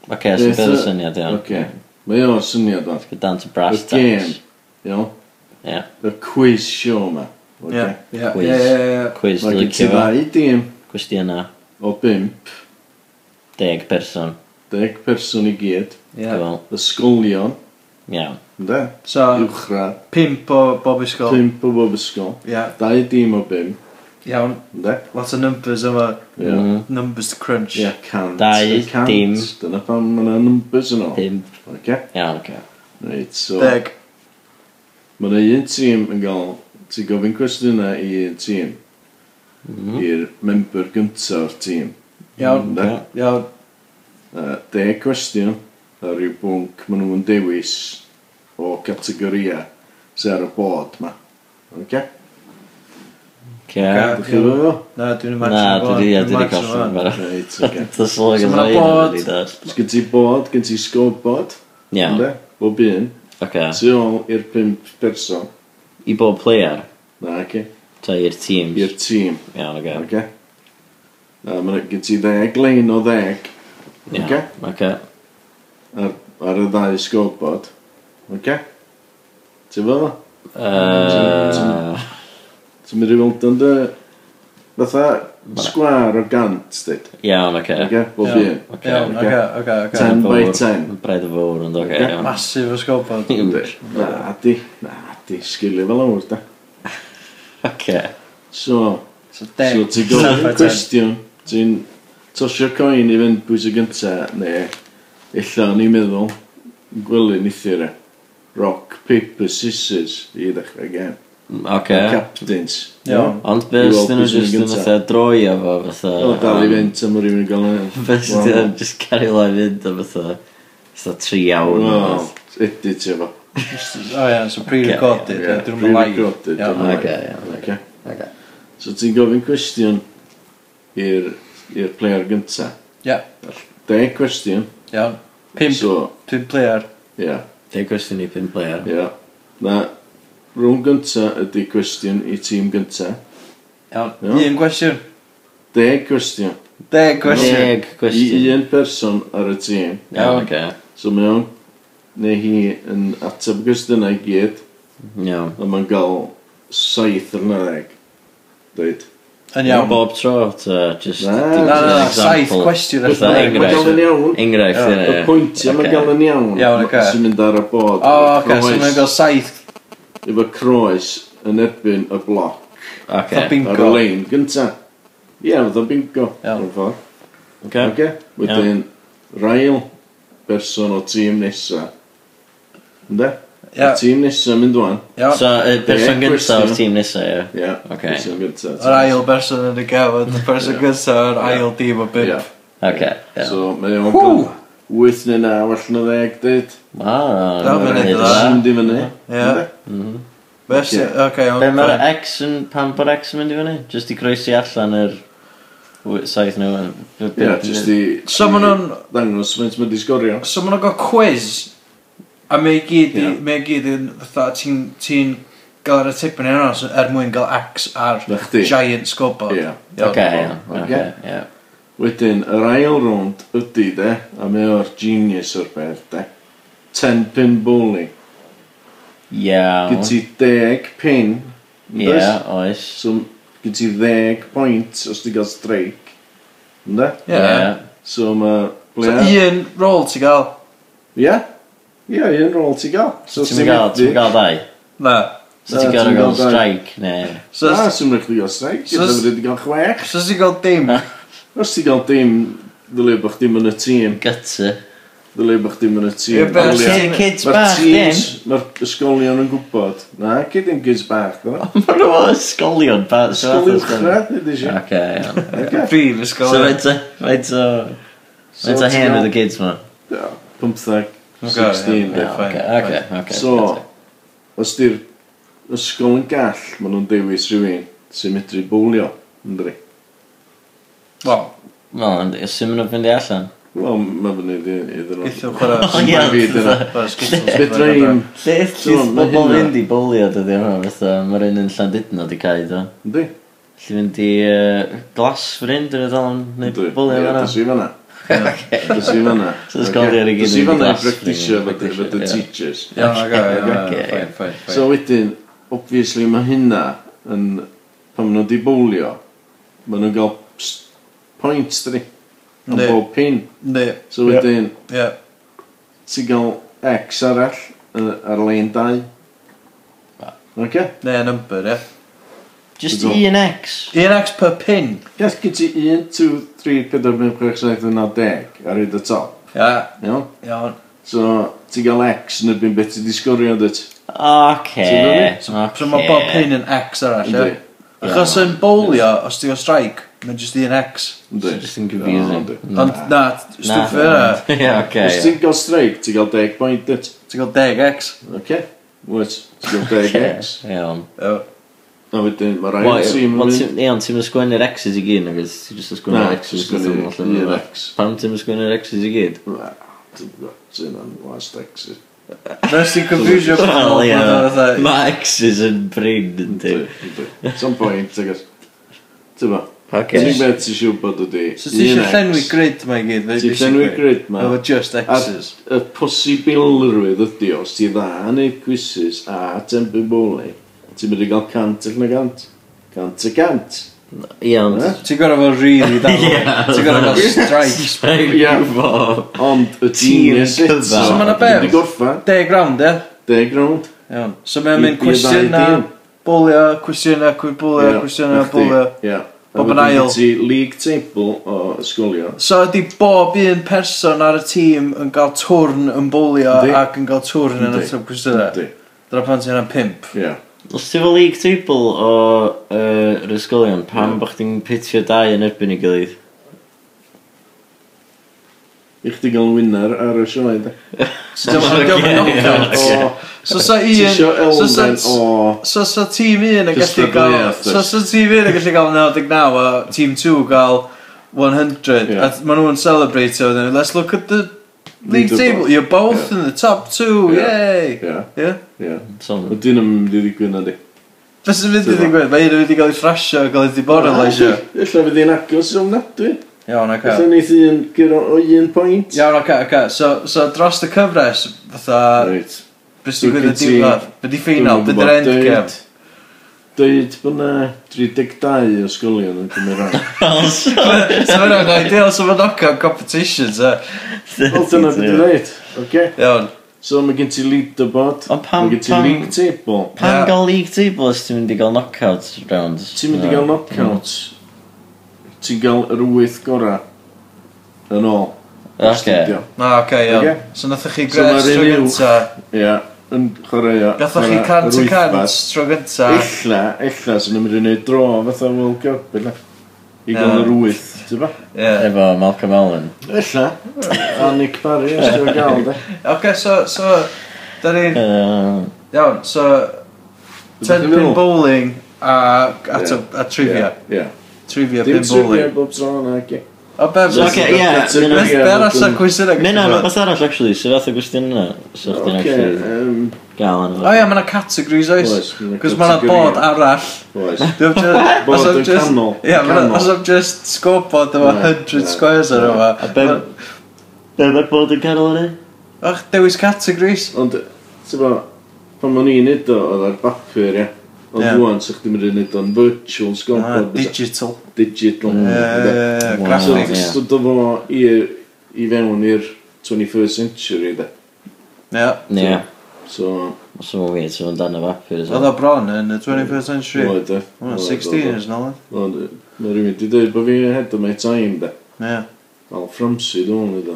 S5: so
S4: Beth
S5: beth y
S4: y-
S5: syniad iawn.
S4: Oce. Mae o'r syniad o'n.
S5: Go down to brass
S4: Y
S5: tacks.
S4: Iawn.
S5: Ie.
S4: Y quiz show ma. Oce.
S2: Ie, ie,
S5: Quiz.
S2: ie, ie, ie.
S5: Quiz,
S4: Mae gen ti
S5: licio fo.
S4: ddau dîm
S5: Cwestiynau.
S4: o bimp,
S5: Deg person.
S4: deg person i gyd,
S2: Ie.
S5: Wel,
S4: ysgolion,
S5: iawn.
S4: ynde?
S2: So,
S4: Uwchradd,
S2: pimp o Bob Ysgol.
S4: pimp o bob ysgol,
S2: Ie.
S4: dau dîm o bimp,
S2: Iawn,
S4: Ynde?
S2: lot o numbers yma.
S4: Ie.
S2: Numbers to crunch.
S4: Ie, cant.
S5: Mhm. Dau,
S4: y cant.
S5: dim.
S4: Dyna pam mae yna numbers yn ôl.
S5: Pimp.
S4: Oce?
S5: Iawn, oce.
S4: Reit, so...
S2: Deg.
S4: Mae yna un tîm yn gael... Ti'n gofyn cwestiynau i un tîm.
S5: Mhm. Hmm?
S4: I'r member gyntaf o'r tîm.
S2: Iawn,
S4: Ynde?
S2: iawn.
S4: Yy, deg cwestiwn a rhyw bwnc maen nhw'n dewis o categoria sy'n ar y bod ma. Ok?
S5: Oce.
S4: Dych chi'n fawr?
S2: Na, dwi'n imagine
S5: Na,
S2: fo,
S5: dwi di,
S2: dwi'n
S5: dwi di
S2: imagine
S5: colli
S2: fo.
S5: yn barod.
S4: Reit, ok.
S5: Dy slog
S2: So
S5: yn
S2: ma' 'na
S5: rhaid
S2: bod.
S5: wedi dod.
S4: Gyn ti bod, gyn ti sgobod,
S5: Iawn,
S4: ynde? bob un,
S5: oce.
S4: tu ôl i'r pimp person,
S5: I bob player,
S4: na, ok?
S5: ta i'r
S4: I'r
S5: teams.
S4: tîm,
S5: Iawn, oce.
S4: ok? A mae'n gyn ti ddeg lein o ddeg
S5: Iawn,
S4: Oce.
S5: oce.
S4: ar, ar y ddau sgobod, ok? Ti'n fawr?
S5: Yy,
S4: Ti'n mynd i weld yn dy... Fatha sgwar o gant, dweud.
S5: Iawn, oce.
S4: Okay, bob
S2: Iawn.
S4: un.
S2: Iawn,
S4: Oce.
S2: oce, oce, oce.
S4: Ten by
S5: Fawr.
S4: ten.
S5: Braidd y fawr, ond oce,
S4: Oce.
S5: iawn.
S2: Masif o sgobod.
S5: Huge.
S4: Na, di. Na, di. Sgilio fel awr, da.
S5: Oce.
S4: So,
S2: So deg.
S4: so ti'n gofyn
S2: Ten by ten.
S4: cwestiwn. Ti'n tosio coin i fynd pwys y gynta, neu illa o'n i'n meddwl, gwely nithir e. Rock, paper, scissors i ddechrau gen.
S5: Oce.
S4: Captains.
S2: Iawn.
S5: Ond beth
S4: Wel,
S5: dyn nhw
S4: pwy sy'n
S5: jyst yn
S4: gynta?
S5: fatha droi o fo fatha...
S4: O, dal i fynd, am yr i'n gael e.
S5: Beth sy'n dyn nhw jyst cario lai fynd o fatha... Fatha tri awr o
S4: Wel,
S5: fath.
S4: edit efo.
S2: O ia, Oh, so pre-recorded.
S4: Ie,
S2: ie, Dwi'n mynd live.
S4: pre-recorded,
S2: Iawn,
S4: dwi'n
S5: Oce,
S4: live.
S5: iawn.
S4: Oce.
S5: Oce.
S4: So ti'n gofyn cwestiwn i'r i'r player gynta.
S2: Ie,
S4: Deg cwestiwn.
S2: iawn. Pimp,
S4: So,
S2: pimp player.
S4: ia,
S5: Te cwestiwn i pin player.
S4: ia. Na, rhwng gynta ydy cwestiwn i tîm gynta.
S2: Iawn,
S4: Iawn.
S2: un gwestiwn.
S4: Deg cwestiwn.
S2: Deg gwestiwn.
S5: Deg
S4: I
S5: cwestiwn.
S4: un person ar y tîm.
S5: Iawn, oce.
S4: So mae o'n, neu hi yn ateb gwestiynau i gyd,
S5: Iawn.
S4: a mae'n gael saith ar ddeg. Dweud.
S2: Yn iawn.
S5: Bob tro, ta, just...
S4: Na,
S2: Na,
S5: dim just
S2: na,
S5: an
S2: na, saith
S5: example.
S2: cwestiwn ar
S5: Fatha
S2: ddeg.
S4: Mae'n gael yn
S5: enghraifft.
S4: iawn.
S5: Enghraifft, ie,
S4: Y
S5: ie.
S4: pwyntio mae'n
S5: Oce.
S4: gael yn iawn.
S2: Iawn, oce.
S4: Sy'n mynd ar y bod.
S2: O, oce, so mae'n gael saith.
S4: efo croes yn erbyn y bloc
S2: Fatha
S5: Oce.
S4: ar y
S2: bingo.
S4: lein gynta. Ie, oedd o bingo.
S2: Iawn.
S4: O'r ffordd.
S5: Oce.
S4: Oce? Wedyn, rhail berson o tîm nesa. Ynde?
S2: Ie.
S4: Y tîm nesa mynd dwan.
S2: Iawn.
S5: So, y
S4: Deg
S5: person gyntaf o'r
S4: cwestiwn.
S5: tîm nesaf, ie.
S4: Ie.
S5: Oce.
S4: Berson gynta.
S2: Yr ail berson yn y gafod, y person gyntaf o'r ail dîm o
S4: Ie.
S2: bimp.
S5: Oce, ie.
S4: So, mae o'n gael 8 neu 9 allan o 10 dyd.
S5: Wow.
S2: Na, mae'n neud dda.
S4: Sy'n di fyny.
S2: Ie.
S4: Ynde?
S2: Berson, oce,
S5: Mhm. Be mae'r
S2: iawn.
S5: X yn... Pan bod X yn mynd i fyny? Just i groesi allan yr... w- Saith nhw.
S4: Ie, jyst i...
S2: So ma' nhw'n-
S4: Dangos, mae'n mynd i sgorio.
S2: So maen nhw'n gael quiz, a mae i gyd,
S4: Ie.
S2: i- mae i gyd yn fatha, ti'n ti'n gael yr atebyn yn anos er mwyn gael X ar
S4: Na chdi.
S2: giant scoreboard.
S4: Ie.
S5: Oce, iawn. Oce,
S4: Oce.
S5: ie.
S4: Wedyn, yr ail rownd ydy de, a mae o'r genius o'r beth de, 10 pin bowling.
S5: Iawn.
S4: Gyd ti 10 pin,
S5: Ie, oes.
S4: so gyd ti 10 pwynt os ti gael streik. Ynda?
S2: Ie.
S4: So mae...
S2: So
S4: Ie?
S2: un rôl ti'n gael?
S4: Ie, un rôl ti gael. So
S5: Ti'n mynd gael, ti'n mynd gael ddau.
S2: Na.
S4: Na,
S5: So ti'n
S4: ti'm
S5: gael
S4: yn
S5: gael
S4: gael ddau.
S5: strike, neu...
S2: So,
S4: Na, sy'n mynd i gael streik,
S2: So
S4: gyda
S2: s-
S4: mynd i gael chwech.
S2: so ti'n gael dim?
S4: Os ti gael dim, ddylai bych dim yn y tîm.
S5: Gutty.
S4: Ddylai bych dim yn y
S2: Ie,
S4: tîm.
S2: be' os
S4: Ddylia-
S2: ti-
S5: Kids- Kids
S4: Mae'r
S5: bach,
S4: teams,
S5: dim.
S4: mae'r ysgolion yn gwybod. Na, gyd yn gids bach. dyna.
S5: Mae nhw o ysgolion, pa...
S4: Ysgol uwchradd, ydy si.
S5: Oce, iawn.
S2: Fi, fy
S5: So
S2: sgol.
S5: faint o... Faint o...
S4: Oh,
S5: Faint o hen oedd y Oh, kids ma?
S4: Pymthag,
S2: Oce,
S4: 16.
S2: ie,
S4: de.
S2: ie.
S5: Oce,
S2: Fine,
S5: oce,
S2: fine.
S5: oce.
S4: So, os di'r ysgol yn gall, maen nhw'n dewis rhywun sy'n medru bowlio. Ynddi.
S2: Wel,
S5: Wel, ond sy'n mynd o fynd i allan?
S4: Wel, mae fyny iddyn nhw.
S2: eithaf chwarae.
S5: O, ie,
S4: fi dyna.
S2: Chwarae Skittles.
S4: Fedra i'm,
S5: Lle
S4: So,
S5: ydych
S4: ma'
S5: bobl
S4: hynna-
S5: fynd i bolio dydy hwnna fatha, mae'r un yn Llandudno di cael do.
S4: ynddi?
S5: Lli fynd i uh, glas fynd yn y dal yn neud
S4: Ynddi.
S5: bolio
S4: Ie,
S5: hwnna.
S4: Dys i fanna. Dys i fanna.
S5: So ysgolion i gyd
S4: Dys i
S5: yn
S4: fanna i
S5: glas
S4: bractisio
S5: ring,
S4: efo
S5: practisio,
S4: the
S5: ie.
S4: teachers.
S2: Iawn, oce, iawn,
S5: Oce,
S2: iawn,
S5: ie.
S2: fine, fine, fine.
S4: So wedyn, obviously mae hynna yn, pan maen nhw di bowlio, maen nhw'n gael s- points dydi, am
S2: Yndi.
S4: bob pin.
S2: Yndi,
S4: So wedyn,
S2: ie.
S4: ti'n gael X arall yy, ar lein 2. Oce?
S2: Neu number, ie.
S5: Just
S4: Diddorol.
S5: un X.
S2: Un X per pin.
S4: Yes, gyd ti 1, 2, 3, 4, 5, 6, 7, 8, 10 ar hyd y top.
S2: Ia,
S4: Iawn?
S2: iawn.
S4: So, ti gael X yn erbyn beth ti di sgorio, dweud?
S5: Oce.
S4: Ti'n gwybod?
S2: So mae bob pin yn X arall, ia? Achos yn bowlio, os ti'n o strike, mae'n just un X.
S4: Ynddi.
S5: Just yn confusing.
S2: Ond na, stwff yna.
S5: Ie, oce.
S4: Os ti'n gael streig, ti'n gael 10 pwynt, dweud?
S2: Ti'n gael 10X.
S4: Oce? Wyt, ti'n gael 10
S5: Ie,
S4: X.
S5: Iawn.
S2: Ia.
S4: A wedyn, mae
S5: Wel,
S4: rhaid tîm
S5: wel,
S4: yn
S5: ti- Iawn, ti'n mynd sgwennu'r X's i gyd, nag oes? Ti'n just yn
S4: Na,
S5: sgwennu'r X's.
S4: jyst yn sgwennu
S5: wrth ymyl
S4: un
S5: allan.
S4: X.
S5: Pam ti'n mynd sgwennu'r X's i gyd?
S4: Sy'n yn last exit.
S2: Nes ti'n confusio
S5: Wel,
S2: pobl,
S5: ie.
S2: mae'n fatha-
S5: Mae X's yn brin, ynddi.
S4: Some point, I guess. Ti'n ba?
S5: Oce.
S4: Ti'n beth ti'n siw bod ydi?
S2: So ti
S4: un
S2: eisiau
S4: X.
S2: llenwi grid mae i gyd?
S4: Ti isio llenwi grid, ma.
S2: Efo just
S4: A
S2: X's.
S4: y posibilrwydd ydi os ti dda yn neud quizzes a tempu boli, ti'n mynd i gael cant allan y gant. Cant y gant.
S5: Iawn.
S4: Ie.
S2: Ti'n gorau fel really da. Ti'n gorau fel strike.
S4: Ie.
S5: Strike for...
S4: Ond y
S5: Tîm
S4: genius eto,
S5: cyfan. So
S2: ma' 'na
S4: ti
S2: beth?
S4: wedi gorffa,
S2: 10 ground, e?
S4: deg rownd.
S2: Iawn. So mae'n
S4: I-
S2: mynd
S4: i'r ddau
S2: cwestiwn na,
S4: dîm.
S2: bwlio, cwestiwn na, cwestiwn bwlio, cwestiwn na, bwlio.
S4: Ie.
S2: Bob yn ail.
S4: Ti league table o ysgolion.
S2: So ydy bob un person ar y tîm yn cael twrn yn bwlio
S4: Yndi.
S2: ac yn cael twrn yn
S4: Yndi.
S2: ateb cwestiynau.
S4: Yndi.
S2: Dyna pan ti'n yna pimp.
S4: Ie.
S5: Os ti fel league table o uh, yr ysgolion, pam bach ti'n pitio dau yn erbyn i gilydd?
S4: I chdi gael winner ar y sioe, de.
S2: So dyma- dyma knockout.
S4: O,
S2: So sa
S4: Ti isio
S2: un... so sa-
S4: elfen o...
S2: So sa tîm 1 yn gallu gael...
S4: Cystadleuaeth,
S2: So sa tîm 1 yn gallu gael 99 a tîm 2 gael 100
S4: Ie.
S2: a maen nhw'n celebrate o then let's look at the league
S4: Leaderboard.
S2: table you're both
S4: Ie.
S2: in the top 2
S4: Ie.
S2: yay
S4: Ie,
S2: yeah
S4: ie.
S5: Tom.
S4: Ond dyn yn mynd i ddigwydd na di.
S2: Beth sy'n mynd i
S4: Dyna.
S2: ddigwydd? Mae un yn mynd i gael ei thrasio a gael ei demoralisio.
S4: Ah, Ella fydd i'n agos o'n nadwy.
S2: Iawn, oce.
S4: Ella neith un gyro o un pwynt.
S2: Iawn, oce, oce. So, so dros y cyfres, fatha,
S4: Reit.
S2: beth sy'n
S4: Dwi'n
S2: gwybod y
S4: cytu-
S2: diwedd? Beth i ffeinal?
S4: Dwi'm yn
S2: Beth i'r
S4: gwbod.
S2: endgame?
S4: Deud- Deud bod na 32 ysgolion yn cymryd rhan.
S2: So, mae'n ideal, so mae'n knock-out competitions, e.
S4: Wel, dyna beth i'n dweud. Oce?
S2: Iawn.
S4: So mae gen ti leaderboard.
S5: Ond pam-
S4: Mae gen ti
S5: pam-
S4: league table.
S5: Pam
S2: Ie.
S5: gael league table os ti'n mynd i gael knockout rounds?
S4: Ti'n mynd i gael
S5: Mm.
S4: knockouts. Ti'n gael yr wyth gorau yn ôl. O'r
S5: Oce.
S4: studio.
S2: Na, oce, iawn.
S4: Oce.
S2: So, nathach chi
S4: So ma'r
S2: gres tro
S4: un uwch.
S2: gynta.
S4: Ie, yn chwarae.
S2: Nathach chi cant y cant tro gynta.
S4: Ella, ella, sy'n mynd i wneud dro fatha World Cup, ella. I gael
S2: Ie.
S4: yr wyth, ti'n ba?
S2: Ie.
S5: Efo Malcolm Allen.
S4: Ella. A Nick Parry, os ti'n gael, de.
S2: Oce, so, so, da ni'n...
S5: Uh,
S2: Iawn, so,
S4: Dwi'n
S2: 10
S4: meddwl.
S2: pin bowling a, ato, a trivia.
S4: Ie.
S2: Trivia
S4: Dim
S2: pin
S4: trivia
S2: bowling.
S4: bob tro yna, ge.
S2: O, be,
S5: So,
S2: beth
S5: oce, ie,
S4: Category
S5: dyna-
S4: a
S2: Ber os y
S4: wedyn-
S2: cwestiwn ag
S5: Mae'n anodd beth arall, actually, sy'n fath o gwestiwn yna. So, chdi'n
S4: Oce,
S5: actually
S4: yym,
S5: gael yna.
S2: O ia, mae'na categories oes.
S4: Oes, ma' 'na
S2: Cos mae'na
S4: category.
S2: bod arall.
S4: oes.
S2: Dwi'n just...
S4: Bod
S2: os am
S4: yn
S2: just-
S4: canol,
S2: Ie, ma' 'na-
S4: canol.
S2: os am just scoreboard efo
S4: Ie,
S2: 100
S4: ie.
S2: squares ar yma.
S5: A be... Be mae'r bod yn canol yna?
S2: Och, dewis categories.
S4: Ond, ti'n ba, pan o'n i'n neud o, oedd ar bapur, ia. Ond
S2: Ie.
S4: rwan, sa'ch ddim yn neud o'n virtual
S2: Ah,
S4: scoreboard. bysa?
S2: Digital.
S4: Digital.
S2: Ie,
S4: ynde?
S2: ie,
S5: Wow.
S4: So,
S2: graphics.
S4: ti'n stod o fo i, i fewn i'r 21st century, de.
S2: Ie.
S5: Ie.
S4: So,
S5: Os yma'n weird, sy'n dan y vapor.
S2: Oedd o bron yn y 21st century.
S4: oedd e.
S2: Wel, 16 years nôl. oedd?
S4: Ond, yy, mae rhywun wedi dweud bod fi head of my time, de.
S2: Ie.
S4: Al Fframsi, dwi'n mynd o.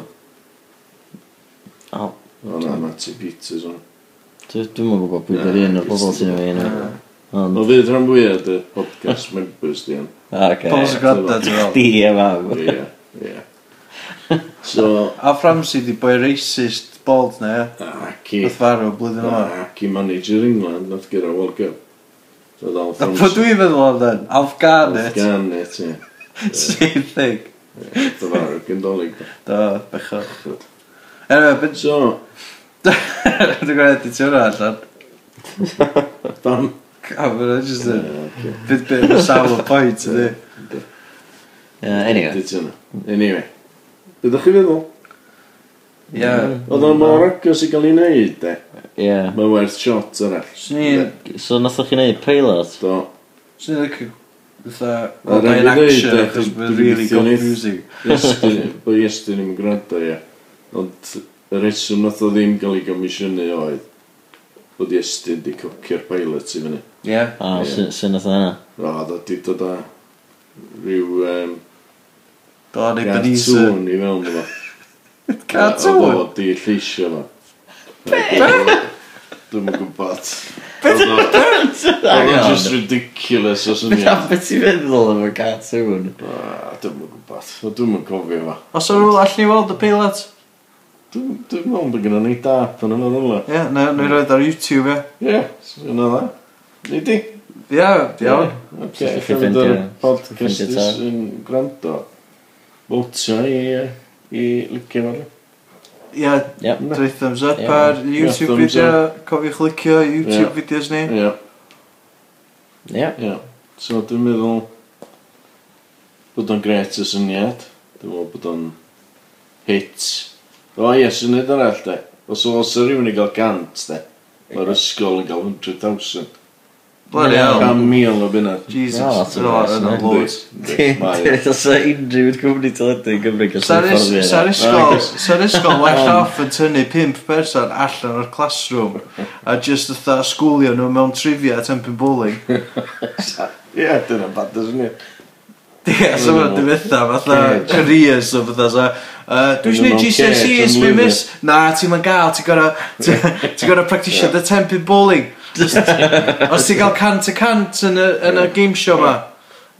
S5: Al-
S4: O na, Matty Peters, o'n.
S5: Dwi'n mwyn gwybod pwy bydd un o'r bobl sy'n ei wneud. Ond,
S4: O fydd rhan fwyaf dy podcast members di yn.
S5: oce.
S2: Paul sy'n gwrando, ti'n fel.
S5: Chdi e mam.
S4: Ie, ie. So,
S2: A Framsi di boi racist bald na, ie.
S4: Aki.
S2: Beth farw blwyddyn o'r.
S4: Aki manager England, nath gyda World Cup. So, Al
S2: A pwy
S4: Fframsi.
S2: dwi'n meddwl oedd yn? Afghanet.
S4: Gan net, ie.
S2: Same thing.
S4: Dyfarw, gyndolig.
S2: Do, bechod. Anyway, beth...
S4: So,
S2: Dwi'n gwneud i ti hwnna allan.
S4: pam...
S2: Cam, yna jyst yn...
S4: Ie, oce.
S2: Bit bit o sawl pwynt, ydy.
S5: Anyway.
S4: Dyt yna. Anyway. Dydych chi feddwl?
S2: Ie.
S4: Oedd o'n mor agos i gael ei wneud, de.
S5: Ie.
S4: Mae werth shot arall.
S2: Swn i'n...
S5: So nathach chi neud pilot?
S4: Do.
S2: Swn i'n licio... Fytha...
S4: Wel,
S2: Gwneud yn
S4: rhaid i fi
S2: action,
S4: ddeud, eh,
S2: achos mae'n
S4: dwi'n
S2: really
S4: gobeithio neith.
S2: confusing.
S4: Bo Iestyn i'n gwrando, ie. Ond y reswm nath o ddim gael ei gomisiynu oedd bod Iestyn di cocio'r pilot i fyny.
S2: Ie,
S4: Ie.
S5: A
S4: Ie.
S5: sy'n sy'n oedd hynna?
S4: Roedd o di dod o rhyw um,
S2: Don Ebenezer.
S4: gartŵn i mewn efo. Oedd
S2: Cartoon?
S4: o di lleisio fo. Be? Dwi'n gwybod. Beth o'n
S5: Hang on.
S4: just ridiculous o
S5: Beth
S4: syniad.
S5: beth ti'n feddwl am y cartoon?
S4: Ah, Dwi'm yn gwybod. Dwi'm yn cofio fo.
S2: Os o'n rhywle allan i weld y pilot?
S4: Dwi'n dwi'n meddwl bod gynnu ni dap yn yna rola.
S2: Ie, yeah, neu
S4: Mm.
S2: neu roed ar YouTube, ie.
S4: Ie, yna dda. Ni di?
S2: Ie, iawn.
S4: Ok,
S5: Os ydych chi'n
S4: ffeindio
S5: ffeindio-
S4: y podcast
S5: ffeindio tad.
S4: sy'n gwrando. Bwtio i, yy, i licio fo.
S2: Ie,
S5: Yep.
S2: drwy thumbs up
S5: Ie.
S2: ar
S4: Ie,
S2: YouTube
S4: thumbs
S2: video. Cofiwch licio YouTube
S4: Ie.
S2: videos ni.
S4: Ie,
S5: Ie.
S4: ie. So dwi'n meddwl bod o'n gret y syniad. Dwi'n meddwl bod o'n hit. O ie, syniad arall de. Os oes rhywun i gael gant de. Mae'r ysgol yn cael 100,000.
S2: Bloody hell.
S4: Cam mil o bunnod.
S2: Jesus.
S5: No, that's
S2: No,
S5: a-
S2: yn y lwys.
S4: Mae-
S5: Os yna unrhyw cwmni teledu yn Gymru gallu
S2: Sa'r
S5: fforddio.
S2: ysgol, sa'r ysgol well off yn tynnu pimp person allan o'r classroom a just ytha sgwlio nhw mewn trivia at empyn bowling.
S4: Ie, dyna bad y syniad.
S2: Ie, so mae'n dyfetha, fatha
S4: Cage.
S2: careers o fatha, so, uh, dwi eisiau gwneud
S4: Dwi'n
S2: GCSEs,
S4: meddwl
S2: mi
S4: cage,
S2: miss. Na, ti'n ma'n gael, ti'n gorau, ti'n gorau practisio the tempid bowling. Os os ti'n gael cant y cant yn y, yn y game show ma,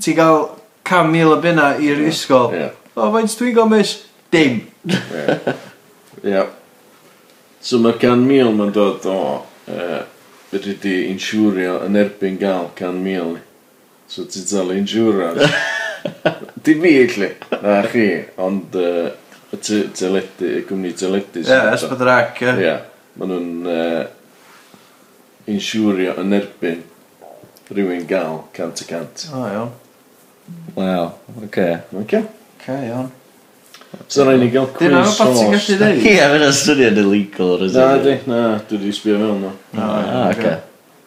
S2: ti'n gael cam mil o bunna i'r ysgol.
S4: Ie.
S2: O, faint dwi'n gael miss? Dim.
S4: Ie. So mae'r can mil mae'n dod o uh, fedri di insiwrio yn erbyn gael can mil ni. So ti'n talu insurance. di fi lle. Na chi, ond uh, y te- teledu, y cwmni teledu.
S2: Ie, ysbydrac, ie.
S4: Ie. Maen nhw'n uh, insiwrio yn erbyn rhywun gael cant y cant.
S2: O, iawn.
S5: Wel, oce.
S4: Okay.
S2: Ce, iawn.
S4: So rhaid ni gael quiz
S2: Dyna rhywbeth ti'n
S4: horse.
S2: gallu dweud?
S5: Ie, mae'n syniad illegal. yr
S4: Na,
S5: ysgol.
S4: di, na, dwi di sbio fewn nhw.
S5: Ah, oce.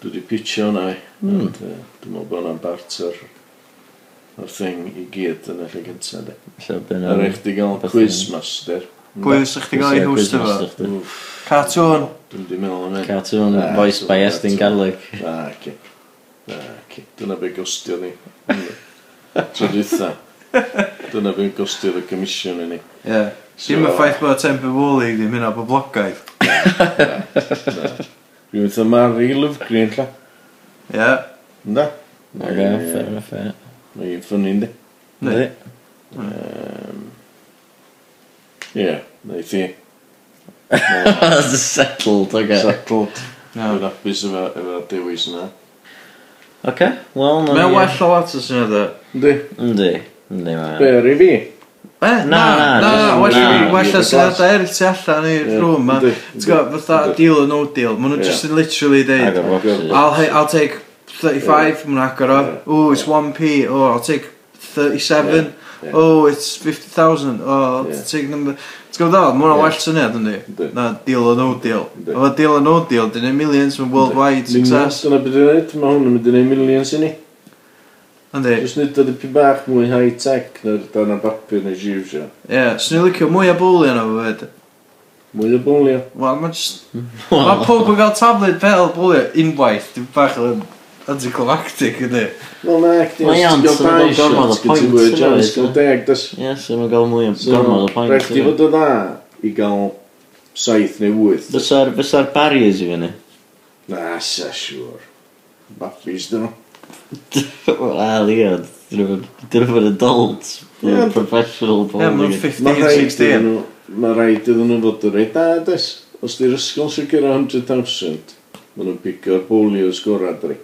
S4: Dwi wedi pitio hwnna i.
S2: Hmm.
S4: Mm. Dwi'n meddwl bod hwnna'n bart o'r, o'r thing i gyd yn y lle gyntaf. De.
S5: Lle byn
S4: No, er eich di gael
S5: beth
S4: quiz master.
S2: Pwy ysych ti'n gael ei hwst efo?
S4: Wff,
S2: Cartoon.
S4: Dwi'n di meddwl am hyn.
S5: Cartoon
S4: Ah,
S5: voiced by
S4: cartoon.
S5: Estyn Garlic.
S4: Na, ci. Na, ci. Dyna be gostio ni. Tro dwytha. Dyna be'n gostio'r y comisiwn i ni.
S2: Ie. Dim y ffaith bod tempid bowling ddim hynna boblogaidd.
S4: Dwi'n meddwl Mari Lyfgrin, lla.
S2: Ie.
S4: Ynda?
S5: Oce, fair enough, fair.
S4: Mae'n ffynnu, ynddi?
S2: Yndi.
S4: Ie, neu thi.
S5: That's settled, oce.
S4: Settled.
S2: Iawn.
S4: Dwi'n apus efo, efo dewis yna.
S5: Oce, wel, na
S2: Mae'n
S5: ni-
S2: well o lot o syniadau.
S4: Ynddi?
S5: Yndi, yndi, mae.
S4: Ber i fi.
S2: E, na, na, na, well
S5: na.
S2: well o
S4: Ie,
S2: syniadau eraill tu allan i'r
S4: Ie,
S2: rhwm ma.
S4: yndi,
S2: Ti'n gwybod, fatha
S4: yndi.
S2: deal or no deal. Ma' nhw
S4: Ie.
S2: just yn literally
S5: Ag
S2: deud,
S5: o'r boxes.
S2: I'll, he- I'll take 35, ma'n agor o. Ooh, it's 1p. Oh, I'll take 37.
S4: Ie, ie.
S2: Oh, it's 50,000. Oh, I'll
S4: Ie.
S2: take number... Ti'n gwybod o, ma' hwnna
S4: Ie.
S2: well syniad yndi?
S4: Yndi.
S2: Na, deal or no deal.
S4: Yndi.
S2: Efo deal or no deal, dyn ni millions mewn worldwide success.
S4: Dyna beth dwi'n neud, mae hwn yn mynd i neud millions i ni.
S2: Yndi.
S4: Jyst nid oedd y pi bach mwy high-tech na'r dan a bapur neu jiwsio.
S2: Ie, swn i'n licio mwy o bwlio yna fo fyd.
S4: Mwy o bwlio.
S2: Wel, mae just... Mae pob yn cael tablet fel bwlio unwaith, dim bach yn anticlimactic ydy.
S4: Wel na, gdi,
S5: Mae iawn,
S4: os
S5: so
S4: ti'n gael
S5: mae'n
S4: dau
S5: gorfod y
S4: shots gyda ti fwy o
S5: points yna,
S4: chance
S5: oes,
S4: gael
S5: ie?
S4: deg. does?
S5: Ie, so mae'n gael mwy o
S4: So,
S5: gormod o
S4: Rhaid
S5: pwynt.
S4: ti
S5: ydi?
S4: fod o dda i gael saith neu wyth.
S5: Fysa'r fysa'r barriers i fyny?
S4: Na, sa siwr. Babis dyn nhw.
S5: Wel, ie, dyn nhw'n adults, dyn nhw'n
S4: Ie.
S5: professional
S2: Ie, mae nhw'n
S5: bowling.
S2: 15, 16.
S4: Mae rhaid iddyn nhw fod yn rhaid da, des. Os di'r ysgol sy'n gyrra 100,000, maen nhw'n picio'r bwlio'r sgorad rhi.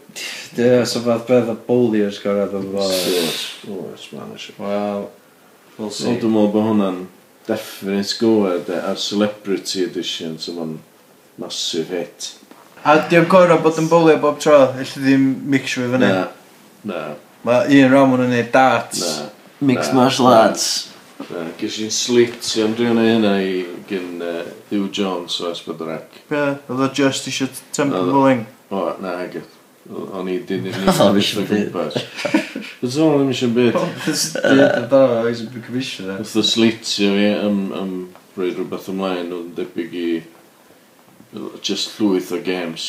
S6: Ie, so fath beth o bowliers gorau dod o fo.
S4: Oes, oes, maen nhw siwr.
S6: Wel, we'll
S4: So,
S6: see.
S4: dwi'n meddwl bod hwnna'n definite goer, de, a'r celebrity edition, so ma'n massive hit.
S2: A diolch gorau bod yn bwlio bob tro, allai ddim mixio fi fyny.
S4: Na, na,
S2: Mae un rhan mwyn yn neud darts.
S4: na.
S5: Mixed
S4: Na.
S5: martial arts.
S4: na. Ges i'n slitio am drwy'n ei hynna i gyn uh, Hugh Jones o Esbydrac.
S2: Ie, oedd o just eisiau temper
S4: Oedd o.
S2: bowling.
S4: O, na, agos. O'n i dyn i'n
S5: O, fi isio byd.
S4: Bys o'n ddim eisiau byd. Wrth o slitio fi am, am rhoi rhywbeth ymlaen o'n debyg i just llwyth o games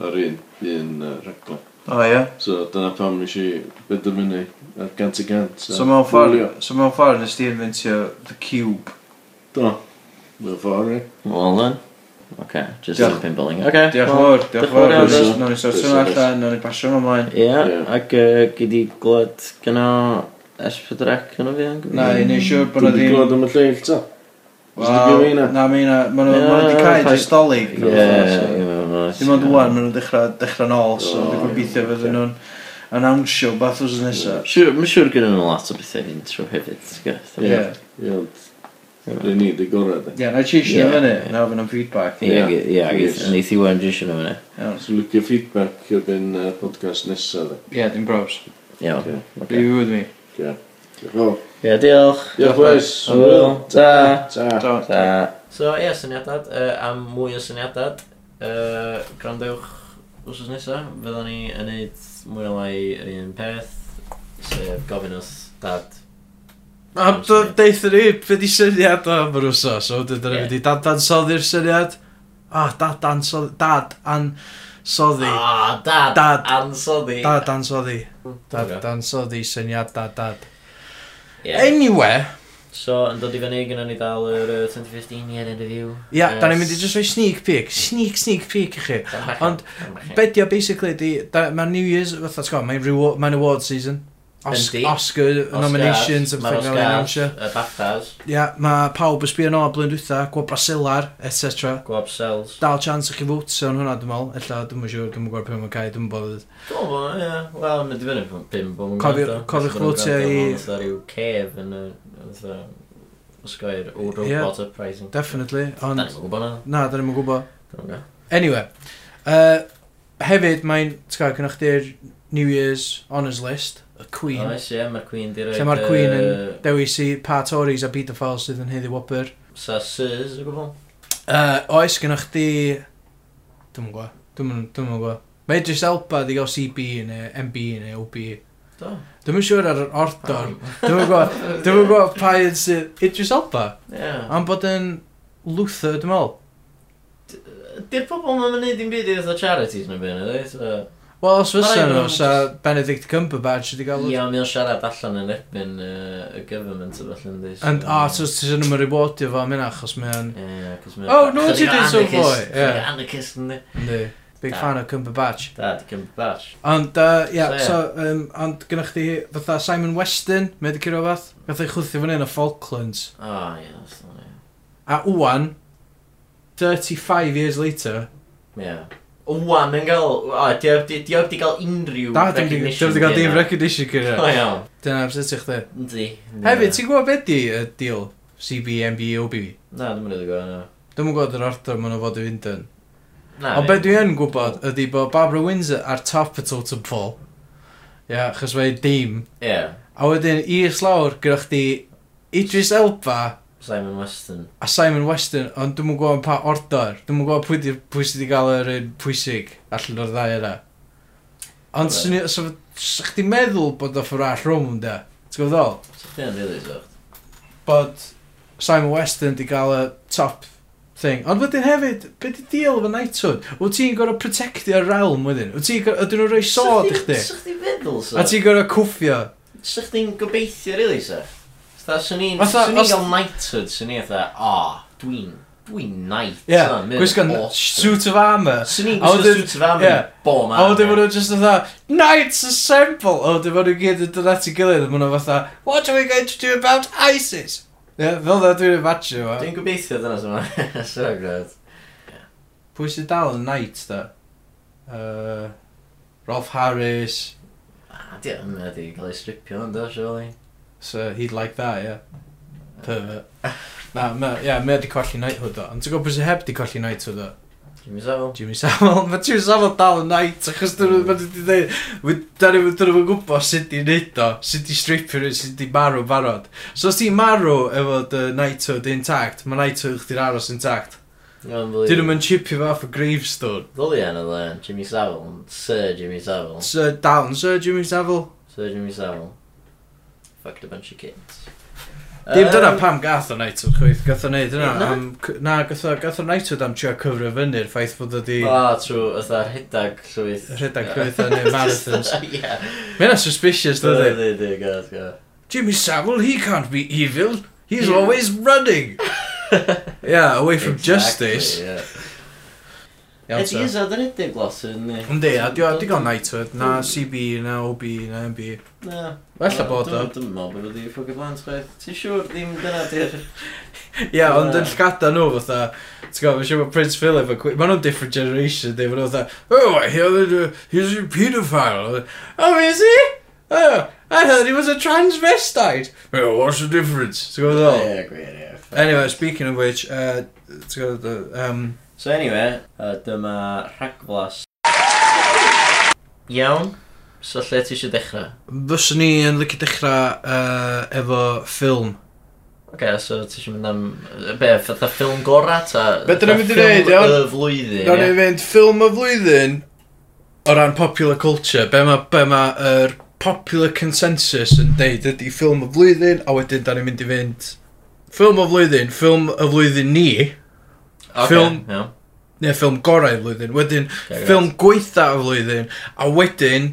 S4: ar un, un uh, reglen.
S7: O ie.
S4: So dyna pam nes i benderfynu ar gant i gant.
S7: So mewn ffordd, so mewn ffordd nes di inventio the cube.
S4: Do. Mewn ffordd, ie.
S5: Wel then. Oce, just
S7: Diolch.
S5: yn pinballing. Oce.
S7: Diolch yn fawr, diolch
S5: diolch yn
S7: yn fawr.
S5: fawr iawn,
S4: Bruce.
S7: Nog ni sortio
S4: Bruce,
S7: hwnna
S4: Bruce.
S7: allan, nog ni basio hwnna ymlaen.
S5: Ie,
S4: Ie.
S5: ac yy, gei di glod gyda S4C yn o fi yn
S7: Na, i neud siwr bod
S4: Dwi'n
S7: nhw
S4: wedi
S7: ddim...
S4: glod am y lleill, ta? Wel,
S7: Wel,
S4: na.
S7: na, mae hynna, maen nhw
S5: Ie,
S7: wedi cael
S5: fine.
S7: ei stolig.
S5: Ie, ie,
S7: Dim ond wwan, maen nhw'n dechrau, dechrau nôl, so
S4: O,
S7: dwi'n gobeithio fydden nhw'n anawnsio beth os nesaf.
S5: Siwr, mae'n siwr gyda nhw lot o bethau intro hefyd, gwrs.
S7: Ie,
S4: Ie, ond rhaid ni, dy gorau, de.
S7: ie, na i cheisio
S5: Ie,
S7: fyny,
S5: ie.
S7: na fydd nhw'n feedback.
S5: Ie, ge- ie,
S4: Yes.
S5: ge- neith i wan jyst yn o fyny.
S7: Iawn.
S4: So lwcio feedback ar ben uh, podcast nesaf, de.
S7: Ie, dim bros.
S5: Iawn.
S7: Be
S5: Ocê.
S7: you with me?
S4: Ie. Diolch fawr.
S5: Ie, diolch.
S4: Diolch, boys.
S5: Hwyl. Ta.
S4: Ta.
S7: Do.
S5: Ta.
S1: So ie, yeah, syniadad, uh, am mwy o syniadad, uh, grandewch wrsos nesaf, fyddwn ni yn neud mwy o lai yr un peth, sef gofyn wrth dad.
S2: A d- deitha ni, be di syniad o am yr wsos? e So, dydyn
S1: Ie.
S2: ni wedi dad ansoddi'r syniad. O, dad ansoddi, dad ansoddi.
S1: Ah, dad,
S2: Dad.
S1: ansoddi.
S2: Dad ansoddi.
S1: Ocê.
S2: Dad ansoddi syniad dad dad.
S1: Yeah.
S2: Anyway,
S1: So, yn dod i fyny, gyda ni dal yr uh, 2015 year interview.
S2: ia, da ni'n mynd i just rhoi sneak peek. Sneak, sneak peek i chi. Ond, Bedio, basically, di, da, mae New Year's, fatha, ti'n gwybod, mae'n rewa- mae'n award season. Os,
S1: Yndi.
S2: Oscar nominations, a
S1: mae'r
S2: pethau gael
S1: Oscars,
S2: announsio.
S1: y Baftas,
S2: Ia, mae pawb ysbio yn ôl blwyddyn dwi'n gwaith Brasilar, etc.
S1: Gwab Cells.
S2: dal chance i chi fwtio yn hwnna, dwi'n meddwl. Ella, dwi'n siŵr, dwi'n gwybod pwy mae'n cael, dwi'n bod...
S1: Dwi'n meddwl, ie. Wel, mae'n dibynnu pan pum bod yn
S2: Cofiwch- cofiwch fwtio i-
S1: Fytha rhyw cef yn y... Fytha... Ysgoi'r o
S2: Ie.
S1: robot uprising.
S2: Definitely,
S1: Da
S2: ond...
S1: ni'n gwybod na.
S2: Na, da ni'n gwybod.
S1: Dwi'n gwybod.
S2: Anyway, uh, hefyd mae'n, ti'n gael, gynnwch chi'r New Year's Honours List, y Queen,
S1: Oes, ie, mae'r Queen di roi...
S2: lle mae'r Queen yn dewis i pa Tories a pedophiles sydd yn heddi wopr.
S1: Sa Sirs, o gwbl.
S2: Uh, oes, gynnwch chi... Dwi'n gwybod, dwi'n gwybod. Mae Idris Elba di gael CB neu MB neu OB.
S1: Do.
S2: Dwi'n yn siŵr ar yr ordor. Dwi'n gwybod, dwi'n gwybod pa un sydd... Idris Elba?
S1: Ie.
S2: Am bod yn Luther, dwi'n meddwl.
S1: Di'r pobol mae'n mynd dim byd i fatha charities na byd, ydy? So...
S2: Wel, os fysa
S1: Mae'n
S2: nhw,
S1: rhaid
S2: sa
S1: bod
S2: Benedict Cumberbatch wedi gael...
S1: Ie, ond mae'n siarad allan yn erbyn yy, y government o falle, ydy?
S2: And, a, so ti sy'n ymwyr rewardio fo am hynna, achos mae'n...
S1: Ie, cos mae'n...
S2: Oh, no, ti
S1: Chydig o
S2: did so
S1: anarchist-
S2: fwy, ie.
S1: chydig o Anarchist, ydy?
S2: Yndi. Big
S1: Da.
S2: fan o Cumberbatch.
S1: Da, di Cumberbatch.
S2: Ond, uh, ia,
S1: So, ie.
S2: so, um, ond gynnwch chi fatha Simon Weston, mae wedi cyrra fath. Gath ei chwthio fan hyn o Falklands.
S1: O, ie, that's not it.
S2: A wwan, 35 years later,
S1: Ie. Wan yn gael... O, diolch di gael unrhyw
S2: da, dim wedi
S1: recognition.
S2: gael dim
S1: gen i.
S2: recognition
S1: O,
S2: cyrra.
S1: iawn.
S2: Dyna amser ti chdi.
S1: Yndi. Ie.
S2: Hefyd, ti'n gwybod beth di y deal CBMBOB?
S1: Na, dwi'n mynd i gwybod, no.
S2: Dwi'n gwybod yr ordor maen nhw fod i fynd yn.
S1: Na,
S2: Ond be dwi yn gwybod ydy bod Barbara Windsor ar top y totem pole. Ia, yeah, chos mae'n dim.
S1: Ie.
S2: A wedyn i slawr gyda chdi Idris Elba
S1: Simon Weston.
S2: a Simon Weston, ond dwi'n gwybod pa ordor. Dwi'n gwybod pwy, di, pwy sydd wedi cael yr un pwysig allan o'r ddau yna. Ond
S1: Right.
S2: swn i- so- 'sa chdi'n meddwl bod o ffwrra rhwm da. e, Ti'n gwybod ddol?
S1: Ti'n yn rili soft.
S2: Bod Simon Weston wedi cael y top thing. Ond wedyn hefyd, be di deal efo Knighthood? Wyt ti'n gorau protectio'r realm wedyn? Wyt ti'n gorau, ydyn nhw'n rhoi sod i chdi?
S1: Sa'ch ti'n feddwl,
S2: A
S1: sa?
S2: ti'n gorau cwffio.
S1: Sa'ch ti'n gobeithio, rili, sa? Fatha, swn i'n...
S2: Fatha,
S1: Swn i'n
S2: os-
S1: gael knighthood, swn i'n fatha, o, dwi'n... Dwi'n knight.
S2: Ie,
S1: sa, mynd
S2: gwisgo n-
S1: awesome.
S2: suit of armour.
S1: Swn i'n
S2: A
S1: gwisgo
S2: wedyn-
S1: suit of armour.
S2: ie.
S1: Bo, man.
S2: A wedyn maen nhw just fatha, Knights Assemble! A wedyn maen nhw gyd yn dod at ei gilydd a maen nhw fatha, What are we going to do about ISIS? Ie, fel dda dwi'n imagine yma.
S1: Dwi'n gobeithio dyna sy'n mynd. Sure, gwrdd.
S2: Pwy sy'n dal yn knight da? Uh, Rolf Harris.
S1: A Ah, di o'n ydi gael ei stripio yn do, surely.
S2: So he'd like that, yeah. Pervert. Na, ma, yeah, mae wedi colli knighthood o. Ond ti'n gwybod pwy sy'n heb di colli knighthood o?
S1: Jimmy Savile.
S2: Jimmy Savile. Mae Jimmy Savile dal yn knight, achos dyn nhw wedi dweud, dyn nhw wedi gwybod sut i wneud o, sut i stripio nhw, sut i marw barod. So os ti'n marw efo dy knighthood intact, mae knighthood chdi'n aros intact. Dyn nhw'n mynd chipio fe off a gravestone.
S1: Ddoli yn oedd yn Jimmy Savile, ond Sir Jimmy Savile.
S2: So, down, Sir Jimmy Savile.
S1: Sir Jimmy Savile. Fucked a bunch of kids. Um,
S2: Dim dyna
S1: Yym,
S2: pam gath o Nightwood chwyth, gath o neud
S1: Na.
S2: yna am... c- Na, gath o, gath o Nightwood am trio cyfro fyny'r ffaith bod o di
S1: O, trw, oedd ar hydag llwyth.
S2: rhedeg chwyth yn y marathons.
S1: Ie.
S2: Mae yna suspicious, dydy.
S1: Dwi, dwi, god, god.
S2: Jimmy Savile, he can't be evil. He's always running. yeah, away from justice. Iawn,
S5: It
S2: so.
S5: is oedd yn edrych glos yn ni.
S2: Yndi, a di- a digon Nightwood, na CB, na OB, na MB. Ella bod o.
S1: Dwi'n meddwl bod wedi ffwc y blant chwaith. Ti'n siŵr ddim dyna di'r...
S2: Ie, ond yn llgada nhw fatha, ti'n gwybod, mae'n siŵr bod Prince Philip yn gwe- ma' nhw'n different generation, they were fatha, oh, I hear that uh, he's a pedophile. Oh, is he? Oh, I heard he was a transvestite. Well, what's the difference? Ti'n gwybod ddol?
S1: Ie, gwir, ie.
S2: Anyway, speaking of which, uh, ti'n gwybod, yy, um,
S1: So anyway, uh, dyma rhagflas. Iawn. So lle ti eisiau dechrau?
S2: Fyswn ni yn licio dechrau uh, efo ffilm.
S1: Oce, so ti eisiau mynd am... yy, Be, fatha ffilm gorau ta?
S2: Be' dyn ni'n mynd i
S1: iawn?
S2: neud, iawn?
S1: Y flwyddyn,
S2: Gawn ni
S1: ie?
S2: fynd ffilm y flwyddyn o ran popular culture. Be mae be ma, er popular consensus yn deud ydy ffilm y flwyddyn, a wedyn da ni'n mynd i fynd ffilm y flwyddyn, ffilm y flwyddyn ni,
S1: Oce,
S2: ffilm-
S1: iawn.
S2: neu ffilm gorau y flwyddyn, wedyn
S1: Ocê,
S2: ffilm gweitha y flwyddyn, a wedyn,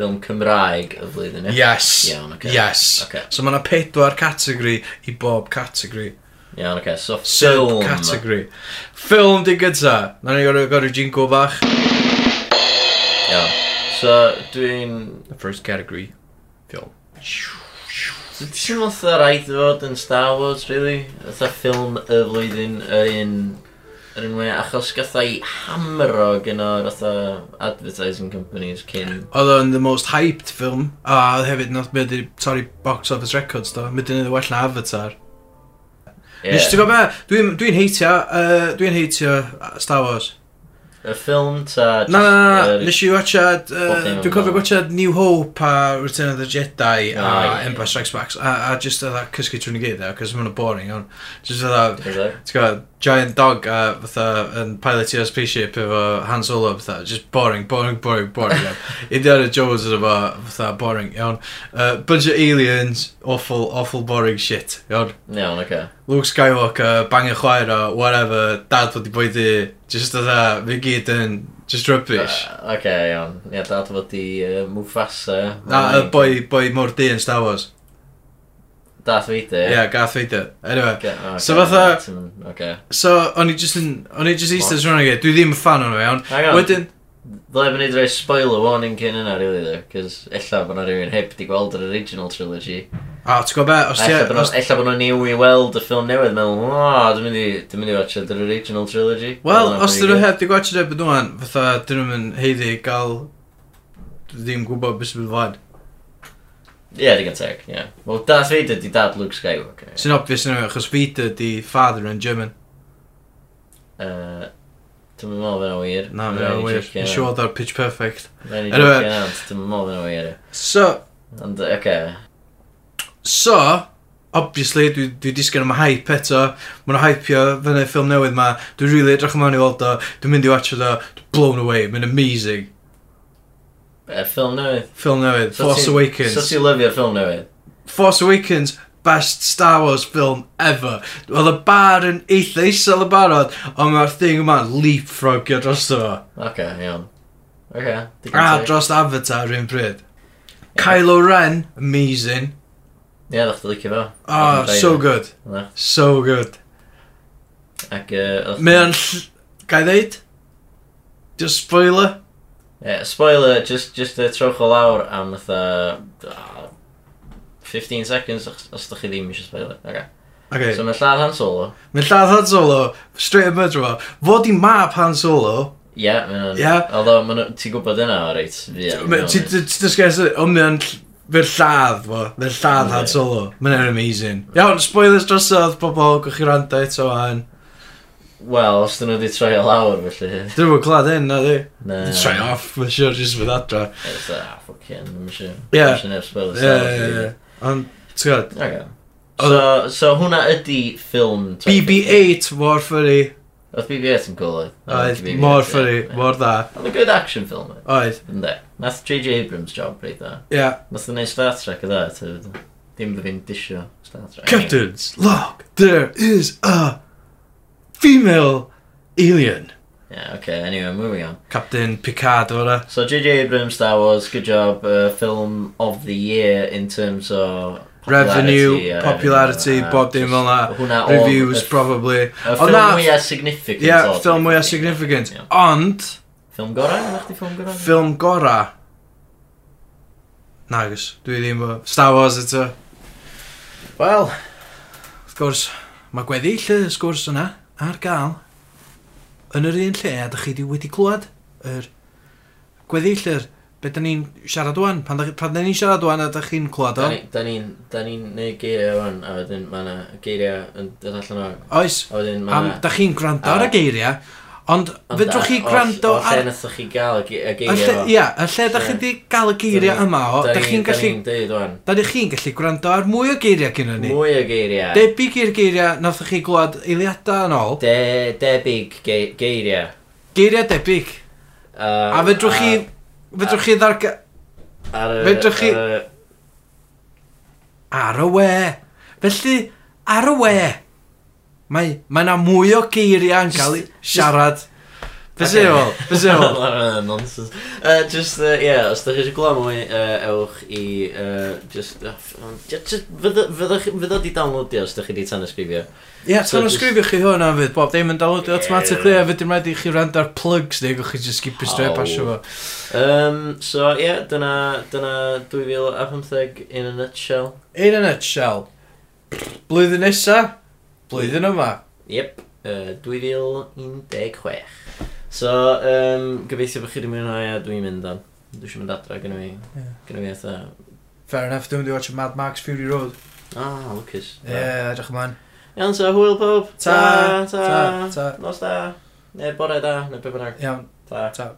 S1: Ffilm Cymraeg y flwyddyn, ie?
S2: yes,
S1: Iawn, ocê.
S2: yes.
S1: Ocê.
S2: So mae yna pedwar categori i bob categori.
S1: Iawn, oce, so ffilm.
S2: Sub-category. Ffilm di gyda. Na ni gorau gorau jingle bach.
S1: Iawn. So, dwi'n...
S2: The first category. Ffilm.
S1: Dwi'n meddwl fatha rhaid i fod yn Star Wars, really? Fatha ffilm y flwyddyn yr un... Yr un we, achos gatha i hamro gyno fatha advertising companies cyn.
S2: Oedd o'n the most hyped film. A oedd hefyd nath byd i torri box office records do. Mynd i'n ei well na Avatar.
S1: Ie.
S2: Yeah. Nes ti'n gwybod be? Dwi'n dwi heitio, uh, dwi'n heitio Star Wars.
S1: Y ffilm ta...
S2: Na, na, na, na.
S1: yr-
S2: Nes i watchad,
S1: Bob dim
S2: uh,
S1: yn
S2: dwi'n cofio
S1: fan'na.
S2: watchad New Hope a Return of the Jedi a
S1: Ah, ie.
S2: Empire Strikes Back. A, a just oedd a cysgu trwy'n i gyd, cos mae'n boring. ond Just oedd a
S1: Is it?
S2: Ti'n gwybod, giant dog a fatha yn pilotio spaceship efo Han Solo fatha, just boring, boring, boring, boring iawn. Indiana Jones yn efo fatha boring iawn. Uh, bunch of aliens, awful, awful boring shit iawn.
S1: Iawn, oce.
S2: Luke Skywalker, bangio chwaer o, whatever, dad fod i bwydi, just fatha, fi gyd yn, just rubbish.
S1: Uh, Oce, iawn. Ie, dad fod i uh, Mufasa.
S2: Na, y boi, boi mor di yn Star Wars.
S1: Dath fi di.
S2: Ie, yeah, Garth Vader. Anyway,
S1: Oce, oce,
S2: So fatha-
S1: ti'n- Oce.
S2: so, o'n i just yn, o'n i just eistedd rhan i gyd, dwi ddim yn fan o'n iawn.
S1: Hang on.
S2: Wedyn,
S1: Ddau fynd i roi spoiler warning cyn yna, really, ddo. Cys ella bod na rhywun heb di gweld yr original trilogy.
S2: a ti'n gwybod be, os ti...
S1: Ella bod
S2: os-
S1: nhw- ella bod nhw'n new i weld ah, y ffilm newydd, meddwl, o, dwi'n mynd i, dwi'n mynd i watch yr original trilogy.
S2: Wel,
S1: Wel,
S2: os
S1: pretty
S2: dyn nhw
S1: good.
S2: heb di gwachio neb yn dwan, fatha dyn nhw'n heiddi gael ddim gwybod beth sy'n fod.
S1: Ie, digon teg, ie. Wel, Darth Vader di dad Luke Skywalker.
S2: Sy'n obvious yn achos Vader di father yn German.
S1: Uh, Dwi'n meddwl fyna wir.
S2: Na,
S1: Fydd
S2: mae'n
S1: rhaid i
S2: wir.
S1: checio
S2: Yn
S1: hwnna.
S2: siŵr o'r pitch perfect.
S1: Fe'n i
S2: Anyway.
S1: jocio nant, dwi'n meddwl fy'n wir.
S2: So,
S1: Ond, oce.
S2: so, obviously, dwi, dwi disgyn am y hype eto. Mae'n hypeio fyny ffilm newydd ma. Dwi'n rili really edrych ymlaen i weld o. Dwi'n mynd i watch o. Dwi'n blown away. Mae'n amazing.
S1: Y ffilm newydd.
S2: Ffilm newydd.
S1: So
S2: Force
S1: ti-
S2: Awakens.
S1: So ti'n lyfio'r ffilm newydd?
S2: Force Awakens, best Star Wars film ever. Oedd y bar yn eitha isel y barod, ond mae'r thing yma'n leapfrogio dros fo.
S1: Oce, iawn. Oce,
S2: A
S1: digon teg.
S2: dros Avatar yr un pryd. Kylo Ren, amazing.
S1: Ie, ddech chi'n licio fo.
S2: Oh,
S1: Adnabod
S2: so
S1: Vader.
S2: good.
S1: Na.
S2: So good.
S1: Ac, uh,
S2: Mae o'n... ll- Gai ddeud? Just spoiler.
S1: Yeah, spoiler, just, just uh, trowch o lawr am fatha... ah, 15 seconds os os ydych chi ddim eisiau spoiler. Okay.
S2: Okay.
S1: So mae lladd Han Solo.
S2: Mae'n lladd Han Solo, straight up murder fo. Fod i mab Han Solo,
S1: Ie, yeah, mae'n...
S2: Ie.
S1: Although, ma' nhw- ti'n gwybod yna o reit? Fi
S2: ti'n dysgais, ond mae'n ll- mae'n lladd fo, mae'n lladd Han
S1: Ie.
S2: Solo. Mae'n amazing. Iawn, spoilers drosodd, pobol, gwch chi rando eto fan.
S1: Wel, os dyn nhw wedi troi o lawr, felly...
S2: Dwi'n bod glad hyn, na di.
S1: Na.
S2: Try off, mae'n siwr, jyst fydd adra.
S1: It's a fucking... Mae'n siŵr.
S2: Ie.
S1: Mae'n siŵr neb spoiler.
S2: Ie, ie, ie. Ond, ti'n gwybod,
S1: Okay. So,
S2: Oedd-
S1: so hwnna ydy ffilm...
S2: BB-8 mor ffyrru,
S1: Oedd BB-8 yn cool, oedd?
S2: oedd
S1: BB-8,
S2: mor
S1: ie.
S2: ffyrru,
S1: Ie.
S2: mor dda.
S1: Oedd a good action film, oedd?
S2: Oedd,
S1: Ynddo. Nath J.J Abrams job, reid dda.
S2: ie.
S1: Nath o'n neud Star Trek o dda, ti'n Dim fydd fi'n disio Star Trek.
S8: Captain's log. There is a female alien.
S1: Yeah, okay, anyway, moving on.
S2: Captain Picard o'r
S1: So J.J. Abrams, Star Wars, good job. Uh, film of the year in terms of...
S2: Revenue,
S1: uh,
S2: popularity,
S1: revenue,
S2: bob dim
S1: just
S2: fel na.
S1: hwnna all-
S2: Reviews,
S1: y-
S2: probably.
S1: Y
S2: Ond
S1: ffilm
S2: na-
S1: mwyaf significant.
S2: Ie,
S1: o, dwi'n
S2: ffilm mwyaf
S1: meddwl.
S2: significant.
S1: Ie.
S2: Ond,
S1: Ffilm gorau? Ydych chdi ffilm gorau?
S2: ffilm gora... Nagos, dwi ddim o... Star Wars eto.
S1: Wel,
S2: Wrth gwrs, mae gweddill y sgwrs yna ar gael yn yr un lle a dych chi 'di wedi clywed yr gweddill yr be da ni'n siarad o'n pan, dach- pan da ni'n siarad o'n a dych chi'n clywed o
S1: da ni- da ni'n da ni'n neud geiriau o'n, a wedyn mae yna geiriau yn dod allan o'n...
S2: oes
S1: A wedyn mae
S2: am
S1: yna...
S2: da chi'n gwrando ar y
S1: a-
S2: geiriau ond fedrwch chi gwrando
S1: ar... O lle
S2: ar
S1: nathoch chi gael y ge- y
S2: y lle,
S1: geiriau o.
S2: ia, y lle da
S1: Ie.
S2: chi wedi gael y geiriau
S1: Da ni-
S2: yma o
S1: da
S2: da
S1: ni-
S2: chi'n gallu
S1: Da ni'n deud o'n.
S2: da chi'n gallu gwrando ar mwy o geiriau gyda ni
S1: Mwy o geiriau.
S2: debyg i'r geiriau nath chi glwad eiliadau yn ôl
S1: De, debyg ge- geiriau.
S2: geiriau debyg
S1: Uh,
S2: A fedrwch chi... Fedrwch chi ddarga...
S1: Ar y...
S2: fedrwch chi-
S1: ar y-
S2: Ar y we. Felly, ar y we. Mae mae yna mwy o geiriau yn cael eu siarad. Fysi
S1: Ocê.
S2: ôl, fysi ôl.
S1: Wel, nonsense. Uh, just, uh, yeah, os da chi eisiau gwlad mwy, uh, ewch i... Uh, just, uh, f- ond ju- just, fydd- fyddwch chi- fydd o di downloadio os da chi di tanysgrifio.
S2: Ie,
S1: So
S2: tan o
S1: just-
S2: sgrifio chi hwn hefyd, Bob, ddim yn downloadio
S1: Ie.
S2: automatically a fydyn rhaid i chi rand ar plugs neu gwych chi just skip straight
S1: How?
S2: pasio fo.
S1: Um, so, yeah, dyna, dyna 2015 in a nutshell.
S2: In a nutshell, blwyddyn nesa, blwyddyn yma.
S1: Yep, uh, 2016. So, um, gobeithio bod chi wedi mwynhau a dwi'n mynd am. Dwi eisiau mynd adra, gynnu fi.
S2: Ie.
S1: Gynnu fi eitha...
S2: Fair enough, dwi'n mynd i watch Mad Max Fury Road.
S1: Ah, Lucas.
S2: Ie, edrych ymlaen.
S1: Iawn, so hwyl pob.
S2: Ta, ta, ta.
S1: Nos da. Neu bore da, neu be bynnag.
S2: Iawn,
S1: Ta.
S2: ta.